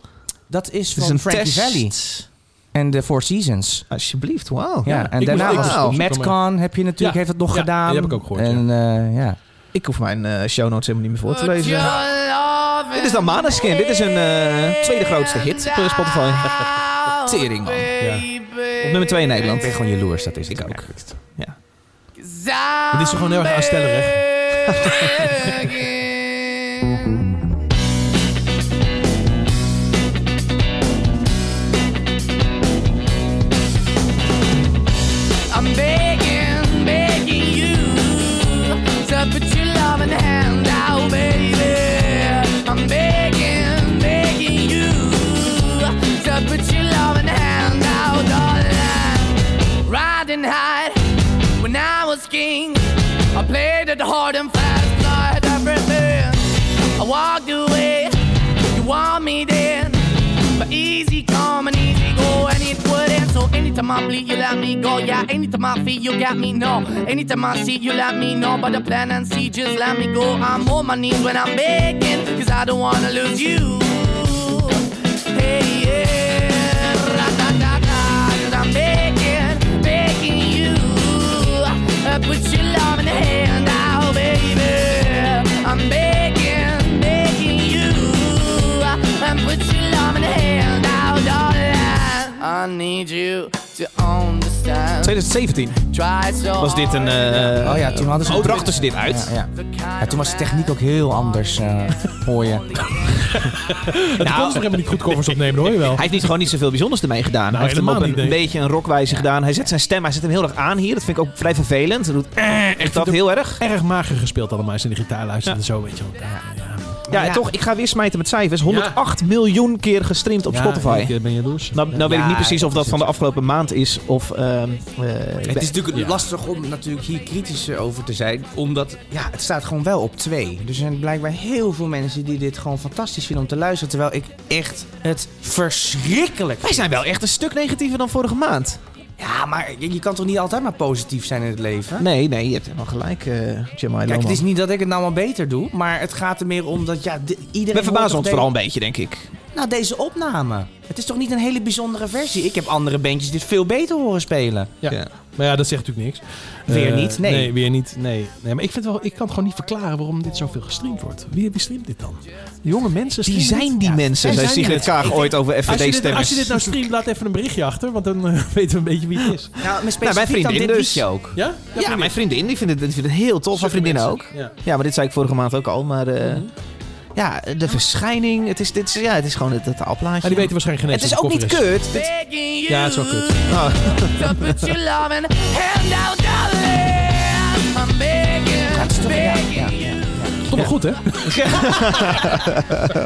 [SPEAKER 1] Dat is
[SPEAKER 3] Het
[SPEAKER 1] van Frankie Valli. En de Four Seasons.
[SPEAKER 3] Alsjeblieft, wauw.
[SPEAKER 1] Ja,
[SPEAKER 3] Ja,
[SPEAKER 1] en
[SPEAKER 3] ik
[SPEAKER 1] daarna
[SPEAKER 3] moest ook
[SPEAKER 1] ook
[SPEAKER 3] eens opzoeken,
[SPEAKER 1] Metcon heb je natuurlijk, heeft het nog
[SPEAKER 3] Ja,
[SPEAKER 1] gedaan.
[SPEAKER 3] die heb ik ook gehoord,
[SPEAKER 1] En, eh, ja.
[SPEAKER 3] Ik hoef mijn eh, show notes helemaal niet meer voor te lezen.
[SPEAKER 4] love
[SPEAKER 3] Dit is dan Maneskin. Dit is hun eh, tweede grootste hit op eh, Spotify. Tering, man. Op nummer 2 in Nederland. Ik ben gewoon jaloers, dat is Ik ook.
[SPEAKER 1] Oh
[SPEAKER 3] Ja.
[SPEAKER 2] Dit is toch gewoon heel erg aanstellerig.
[SPEAKER 4] I'm begging, begging you to put your loving hand out, baby. I'm begging, begging you to put your loving hand out, darling. Riding high when I was king, I played it hard and fast, like everything. I walked away, you want me then. But easy come and easy go, and it would end. So anytime I bleed, you let me go. Yeah, anytime I feel, you got me. No, anytime I see, you let me know. But the plan and see, just let me go. I'm on my knees when I'm begging, cause I don't wanna lose you. Hey, yeah, ra-da-da-da. Cause I'm begging, begging you. Uh, Put your love in the hand out, baby. I'm begging, begging you and put your love in the hand out, darling. I need you to understand.
[SPEAKER 3] 2017
[SPEAKER 4] Try so
[SPEAKER 3] was dit een... eh,
[SPEAKER 1] Oh ja, toen hadden ze...
[SPEAKER 3] Oh, brachten ze dit uit?
[SPEAKER 1] Ja, ja. Ja, toen was de techniek ook heel anders, eh, hoor je.
[SPEAKER 2] Het kon ze nog helemaal niet goed covers opnemen, hoor je wel.
[SPEAKER 3] Nou. Hij heeft niet, gewoon niet zoveel bijzonders ermee gedaan. hij heeft hem op
[SPEAKER 2] helemaal
[SPEAKER 3] een
[SPEAKER 2] niet, nee.
[SPEAKER 3] beetje een rockwijze gedaan. Hij zet zijn stem, hij zet hem heel erg aan hier. Dat vind ik ook vrij vervelend. Hij doet eh, echt dat heel erg.
[SPEAKER 2] Erg mager gespeeld allemaal. Als je naar de gitaar luistert en zo, weet je wel. Ja,
[SPEAKER 3] Ja, en toch, ik ga weer smijten met cijfers. 108 miljoen keer gestreamd op Spotify.
[SPEAKER 2] ik, eh, ben je jaloers?
[SPEAKER 3] Nou, nou weet ik
[SPEAKER 1] Ja,
[SPEAKER 3] niet precies of
[SPEAKER 1] dat
[SPEAKER 3] dat
[SPEAKER 1] is
[SPEAKER 3] van de afgelopen maand is of... ehm, eh,
[SPEAKER 1] Het is natuurlijk lastig om natuurlijk hier kritisch eh, over te zijn. Omdat ja, het staat gewoon wel op twee. Er zijn blijkbaar heel veel mensen die dit gewoon fantastisch vinden om te luisteren. Terwijl ik echt het verschrikkelijk
[SPEAKER 3] Wij
[SPEAKER 1] vind.
[SPEAKER 3] zijn wel echt een stuk negatiever dan vorige maand.
[SPEAKER 1] Ja, maar je, je kan toch niet altijd maar positief zijn in het leven?
[SPEAKER 3] Nee, nee, je hebt helemaal gelijk, eh Jamai
[SPEAKER 1] Kijk, het
[SPEAKER 3] Lohman.
[SPEAKER 1] is niet dat ik het nou maar beter doe. Maar het gaat er meer om dat ja, di- iedereen...
[SPEAKER 3] We
[SPEAKER 1] hoort
[SPEAKER 3] verbazen
[SPEAKER 1] toch
[SPEAKER 3] ons
[SPEAKER 1] de-
[SPEAKER 3] vooral een beetje, denk ik.
[SPEAKER 1] Nou, deze opname. Het is toch niet een hele bijzondere versie? Ik heb andere bandjes dit veel beter horen spelen.
[SPEAKER 2] Ja. Maar ja, dat zegt natuurlijk niks. Eh,
[SPEAKER 1] Weer niet? Nee.
[SPEAKER 2] Nee, weer niet. Nee. nee maar ik, vind wel, ik kan het gewoon niet verklaren waarom dit zoveel gestreamd wordt. Wie, wie streamt dit dan? De jonge mensen
[SPEAKER 3] Die
[SPEAKER 2] streamen
[SPEAKER 3] zijn
[SPEAKER 2] dit?
[SPEAKER 3] die mensen,
[SPEAKER 2] zij
[SPEAKER 3] zei
[SPEAKER 2] zijn
[SPEAKER 3] Sigrid
[SPEAKER 2] die
[SPEAKER 3] Kaag ooit over
[SPEAKER 2] Als je, dit, als
[SPEAKER 3] FVD-stemmers.
[SPEAKER 2] je dit nou streamt, laat even een berichtje achter, want dan eh, weten we een beetje wie het is.
[SPEAKER 1] Nou, mijn
[SPEAKER 3] Nou, mijn
[SPEAKER 1] specifiek dan
[SPEAKER 3] vriendin dus.
[SPEAKER 1] dit liedje ook.
[SPEAKER 2] Ja?
[SPEAKER 3] Ja, mijn vriendin, die vindt het, die vindt het heel tof. Mijn vriendin ook.
[SPEAKER 2] Ja.
[SPEAKER 3] Ja, maar dit zei ik vorige maand ook al. Maar eh,
[SPEAKER 2] Mhm.
[SPEAKER 3] ja, de verschijning. Het is, dit, is- ja, het is gewoon het, het
[SPEAKER 2] Maar
[SPEAKER 3] appelplaatje.
[SPEAKER 2] die weten waarschijnlijk geen
[SPEAKER 3] het
[SPEAKER 2] eens
[SPEAKER 3] is
[SPEAKER 2] wat
[SPEAKER 3] ook
[SPEAKER 2] de
[SPEAKER 3] niet
[SPEAKER 2] cover
[SPEAKER 3] kut. Dit-
[SPEAKER 4] begging you
[SPEAKER 2] Ja, het is wel kut.
[SPEAKER 4] to put your loving hand out, darling. I'm begging, begging you.
[SPEAKER 2] is. Toch wel goed, hè?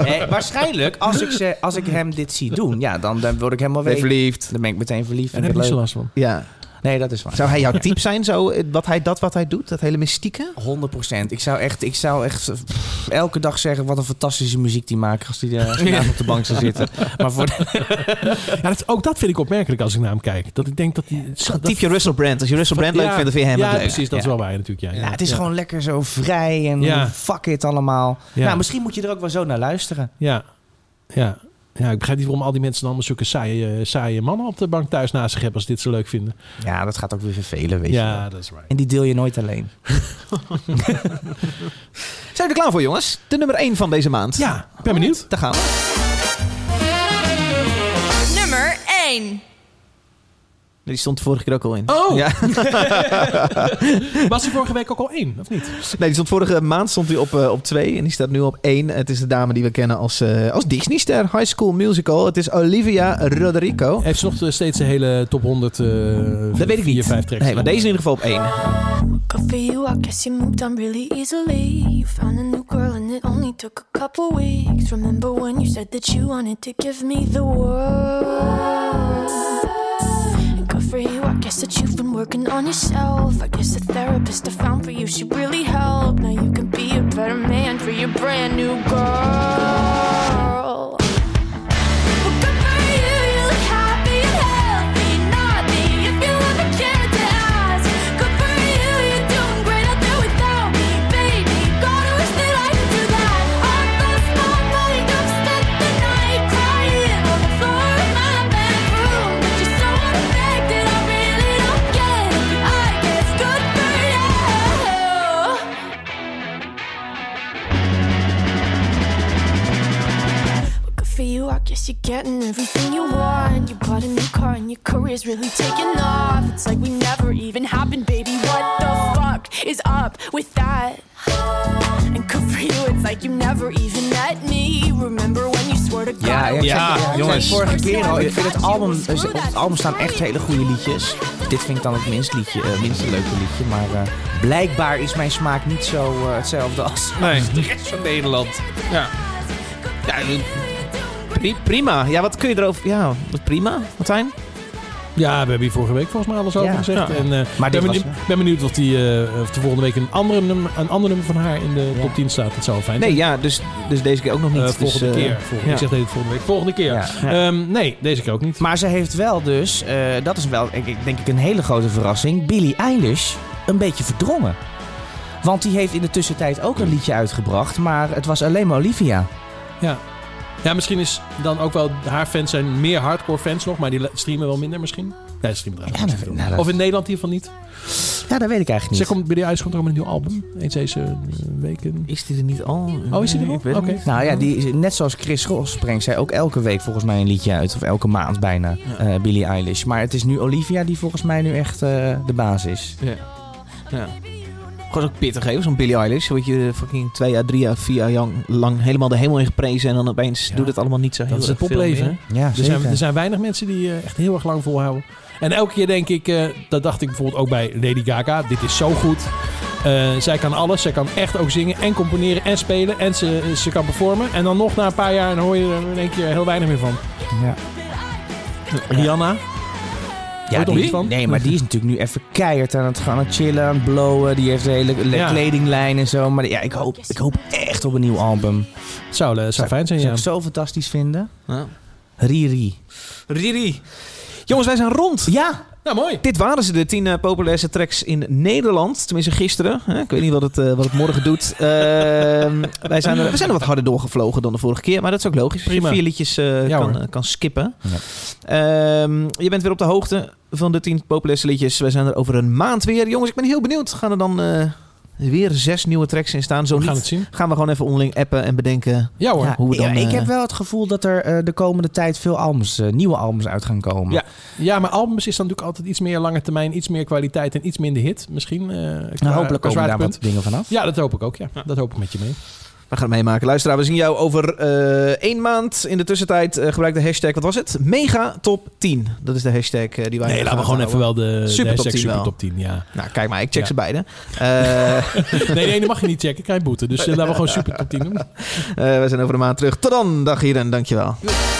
[SPEAKER 1] Eh, waarschijnlijk, als ik, ze, als ik hem dit zie doen, ja, dan, dan word ik helemaal
[SPEAKER 3] Ben
[SPEAKER 1] weg.
[SPEAKER 3] verliefd.
[SPEAKER 1] Dan ben ik meteen verliefd.
[SPEAKER 2] En
[SPEAKER 1] vind
[SPEAKER 2] heb
[SPEAKER 1] ik
[SPEAKER 2] ik niet
[SPEAKER 1] het
[SPEAKER 2] zo
[SPEAKER 1] leuk.
[SPEAKER 2] last van.
[SPEAKER 3] Ja.
[SPEAKER 1] Nee, dat is waar.
[SPEAKER 3] Zou hij jouw type zijn, zo, eh, wat hij, dat wat hij doet? Dat hele mystieke?
[SPEAKER 1] 100 procent. Ik zou echt, ik zou echt pff, elke dag zeggen wat een fantastische muziek die maken als die daar
[SPEAKER 2] Ja.
[SPEAKER 1] op de bank zou zitten. Maar voor
[SPEAKER 2] Ja, dat, ook dat vind ik opmerkelijk als ik naar hem kijk. Dat ik denk dat hij... dat-
[SPEAKER 3] Type je Russell Brand. Als je Russell Brand leuk
[SPEAKER 2] Ja,
[SPEAKER 3] vindt, dan vind je hem
[SPEAKER 2] ja,
[SPEAKER 3] ook leuk.
[SPEAKER 2] precies. Dat is wel waar natuurlijk. Ja,
[SPEAKER 1] ja, het is
[SPEAKER 2] Ja.
[SPEAKER 1] gewoon lekker zo vrij en
[SPEAKER 2] Ja.
[SPEAKER 1] fuck it allemaal.
[SPEAKER 2] Ja.
[SPEAKER 1] Nou, misschien moet je er ook wel zo naar luisteren.
[SPEAKER 2] Ja, ja. ja ik begrijp niet waarom al die mensen dan allemaal zulke saaie, eh, saaie mannen op de bank thuis naast zich hebben als dit ze leuk vinden.
[SPEAKER 1] Ja, dat gaat ook weer vervelen, weet je.
[SPEAKER 2] ja,
[SPEAKER 1] wel.
[SPEAKER 2] dat is waar.
[SPEAKER 1] En die deel je nooit alleen.
[SPEAKER 3] Zijn we er klaar voor, jongens? De nummer 1 van deze maand.
[SPEAKER 2] Ja, ik ben benieuwd.
[SPEAKER 3] Daar gaan we.
[SPEAKER 4] Nummer 1.
[SPEAKER 3] Die stond vorige keer ook al in.
[SPEAKER 2] Oh!
[SPEAKER 3] Ja.
[SPEAKER 2] Was er vorige week ook al één, of niet?
[SPEAKER 3] Nee, die stond vorige maand stond hij op, eh, op twee en die staat nu op één. Het is de dame die we kennen als, eh als Disney-ster. High School Musical. Het is Olivia Rodrigo.
[SPEAKER 2] Heeft ze nog eh, steeds de hele top 100? eh
[SPEAKER 3] Dat weet ik niet.
[SPEAKER 2] vijf tracks.
[SPEAKER 3] Nee, maar deze in ieder geval op één.
[SPEAKER 12] Good for you, I guess you moved on really easily. You found a new girl and it only took a couple weeks. Remember when you said that you wanted to give me the world? And good for you, I guess that you've been working on yourself. I guess the therapist I found for you, she really helped. Now you can be a better man for your brand new girl. Good for you, I guess you're getting everything you want. You bought a new car and your career's really taking off. It's like we never even happened, baby. What the fuck is up with that? And good for you, it's like you never even met me. Remember when you swore to God?
[SPEAKER 1] Ja,
[SPEAKER 12] I
[SPEAKER 1] ja,
[SPEAKER 12] would
[SPEAKER 1] ja,
[SPEAKER 12] never
[SPEAKER 1] jongens.
[SPEAKER 12] leave
[SPEAKER 1] Vorige keer al. Ik
[SPEAKER 12] you.
[SPEAKER 1] vind het album, dus op het album staan echt hele goede liedjes. Dit vind ik dan het minst, liedje, eh, minst leuke liedje. Maar eh, blijkbaar is mijn smaak niet zo eh, hetzelfde als, als de rest van Nederland.
[SPEAKER 2] Ja.
[SPEAKER 3] Ja, pri- prima. Ja, wat kun je erover... Ja, wat prima, Martijn.
[SPEAKER 2] Ja, we hebben hier vorige week volgens mij alles over
[SPEAKER 3] Ja.
[SPEAKER 2] gezegd.
[SPEAKER 3] Ja.
[SPEAKER 2] En, eh, ben,
[SPEAKER 1] Maar dit was
[SPEAKER 2] benieuwd, ben benieuwd of, die, eh, of de volgende week een, andere nummer, een ander nummer van haar in de top 10 staat. Dat zou wel fijn
[SPEAKER 3] Nee, ja, dus, dus deze keer ook nog niet.
[SPEAKER 2] Eh,
[SPEAKER 3] Dus,
[SPEAKER 2] volgende
[SPEAKER 3] eh,
[SPEAKER 2] keer. Volgende,
[SPEAKER 3] ja.
[SPEAKER 2] Ik zeg de hele volgende week. Volgende keer.
[SPEAKER 1] Ja.
[SPEAKER 2] Ehm, nee, deze keer ook niet.
[SPEAKER 1] Maar ze heeft wel dus, eh, dat is wel ik- ik denk ik een hele grote verrassing, Billie Eilish een beetje verdrongen. Want die heeft in de tussentijd ook een liedje uitgebracht, maar het was alleen maar Olivia.
[SPEAKER 2] Ja. ja, misschien is dan ook wel... Haar fans zijn meer hardcore fans nog, maar die le- streamen wel minder misschien. Nee, ze streamen
[SPEAKER 1] Ja,
[SPEAKER 2] trouwens
[SPEAKER 1] dat,
[SPEAKER 2] niet veel.
[SPEAKER 1] nou, dat-
[SPEAKER 2] Of in Nederland in ieder geval niet.
[SPEAKER 1] ja, dat weet ik
[SPEAKER 2] Zeg,
[SPEAKER 1] eigenlijk niet.
[SPEAKER 2] komt Billie Eilish komt er ook met een nieuw album. Eens deze eh, weken.
[SPEAKER 3] Is die er niet al?
[SPEAKER 2] Oh, is die er
[SPEAKER 3] Nee,
[SPEAKER 2] nog?
[SPEAKER 3] ik weet het
[SPEAKER 2] Oké.
[SPEAKER 3] niet.
[SPEAKER 1] Nou ja, die, is- net zoals Chris Ross brengt zij ook elke week volgens mij een liedje uit. Of elke maand bijna, eh, Billie Eilish. Maar het is nu Olivia die volgens mij nu echt eh, de baas is.
[SPEAKER 3] Gewoon ook pittig, hè, zo'n Billie Eilish. Word je fucking twee jaar, drie jaar, vier jaar lang- lang helemaal de hemel in geprezen... en dan opeens doet het allemaal niet zo heel
[SPEAKER 2] Dat is het
[SPEAKER 3] erg veel
[SPEAKER 2] popleven. hè?
[SPEAKER 3] meer.
[SPEAKER 1] Ja,
[SPEAKER 2] Er zijn,
[SPEAKER 1] zeker.
[SPEAKER 2] er zijn weinig mensen die eh, echt heel erg lang volhouden. En elke keer denk ik, eh, dat dacht ik bijvoorbeeld ook bij Lady Gaga. Dit is zo goed. Eh, zij kan alles. Zij kan echt ook zingen en componeren en spelen. En ze, ze kan performen. En dan nog na een paar jaar dan hoor je er in één keer heel weinig meer van.
[SPEAKER 1] Ja.
[SPEAKER 2] Rihanna.
[SPEAKER 1] Ja,
[SPEAKER 2] Hoort nog
[SPEAKER 1] die-
[SPEAKER 2] iets van?
[SPEAKER 1] Nee, maar die is natuurlijk nu even keihard aan het gaan aan het chillen, aan het blowen. Die heeft de hele le-
[SPEAKER 2] Ja.
[SPEAKER 1] kledinglijn en zo. Maar ja, ik hoop, ik hoop echt op een nieuw album.
[SPEAKER 2] Zou, eh, zou fijn zijn,
[SPEAKER 1] Zou
[SPEAKER 2] ja.
[SPEAKER 1] ik zo fantastisch vinden.
[SPEAKER 3] Ja.
[SPEAKER 1] Riri.
[SPEAKER 3] Riri. Jongens, wij zijn rond.
[SPEAKER 1] Ja,
[SPEAKER 2] Nou, mooi.
[SPEAKER 3] Dit waren ze, de tien eh, populairste tracks in Nederland. Tenminste, gisteren. hè. Ik weet niet wat het, eh, wat het morgen doet. Ehm, wij zijn er, we zijn er wat harder doorgevlogen dan de vorige keer. Maar dat is ook logisch. Als je
[SPEAKER 2] Prima.
[SPEAKER 3] vier liedjes eh,
[SPEAKER 2] Ja,
[SPEAKER 3] kan,
[SPEAKER 2] hoor.
[SPEAKER 3] eh, kan skippen. Ehm, je bent weer op de hoogte van de tien populairste liedjes. Wij zijn er over een maand weer. Jongens, ik ben heel benieuwd. Gaan er dan eh, weer zes nieuwe tracks in staan? Zo
[SPEAKER 2] We gaan
[SPEAKER 3] niet.
[SPEAKER 2] het zien.
[SPEAKER 3] Gaan we gewoon even onderling appen en bedenken
[SPEAKER 2] Ja hoor.
[SPEAKER 1] Ja,
[SPEAKER 3] hoe we dan...
[SPEAKER 1] ja, ik
[SPEAKER 3] eh,
[SPEAKER 1] heb wel het gevoel dat er eh, de komende tijd veel albums, eh, nieuwe albums uit gaan komen.
[SPEAKER 2] Ja. Ja, maar albums is dan natuurlijk altijd iets meer lange termijn, iets meer kwaliteit en iets minder hit. Misschien. eh, qua-
[SPEAKER 1] Nou, hopelijk
[SPEAKER 2] qua
[SPEAKER 1] komen daar
[SPEAKER 2] zwaartepunt.
[SPEAKER 1] wat dingen vanaf.
[SPEAKER 2] Ja, dat hoop ik ook. Ja. Dat hoop ik met je mee.
[SPEAKER 3] We gaan het meemaken. Luisteraar, we zien jou over eh, één maand. In de tussentijd eh, gebruik de hashtag, wat was het? Mega top 10. Dat is de hashtag eh, die wij...
[SPEAKER 2] Nee,
[SPEAKER 3] in
[SPEAKER 2] laten we
[SPEAKER 3] de gaten
[SPEAKER 2] gewoon even
[SPEAKER 3] houden.
[SPEAKER 2] wel de,
[SPEAKER 3] Super
[SPEAKER 2] de
[SPEAKER 3] top 10
[SPEAKER 2] super
[SPEAKER 3] wel.
[SPEAKER 2] top 10. Ja.
[SPEAKER 3] Nou, kijk maar, ik check
[SPEAKER 2] Ja.
[SPEAKER 3] ze beide. Eh, eh,
[SPEAKER 2] Nee, nee, dat mag je niet checken. Ik krijg boete. Dus eh, laten we gewoon super top 10 doen.
[SPEAKER 3] we zijn over een maand terug. Tot dan, dag hier en dankjewel.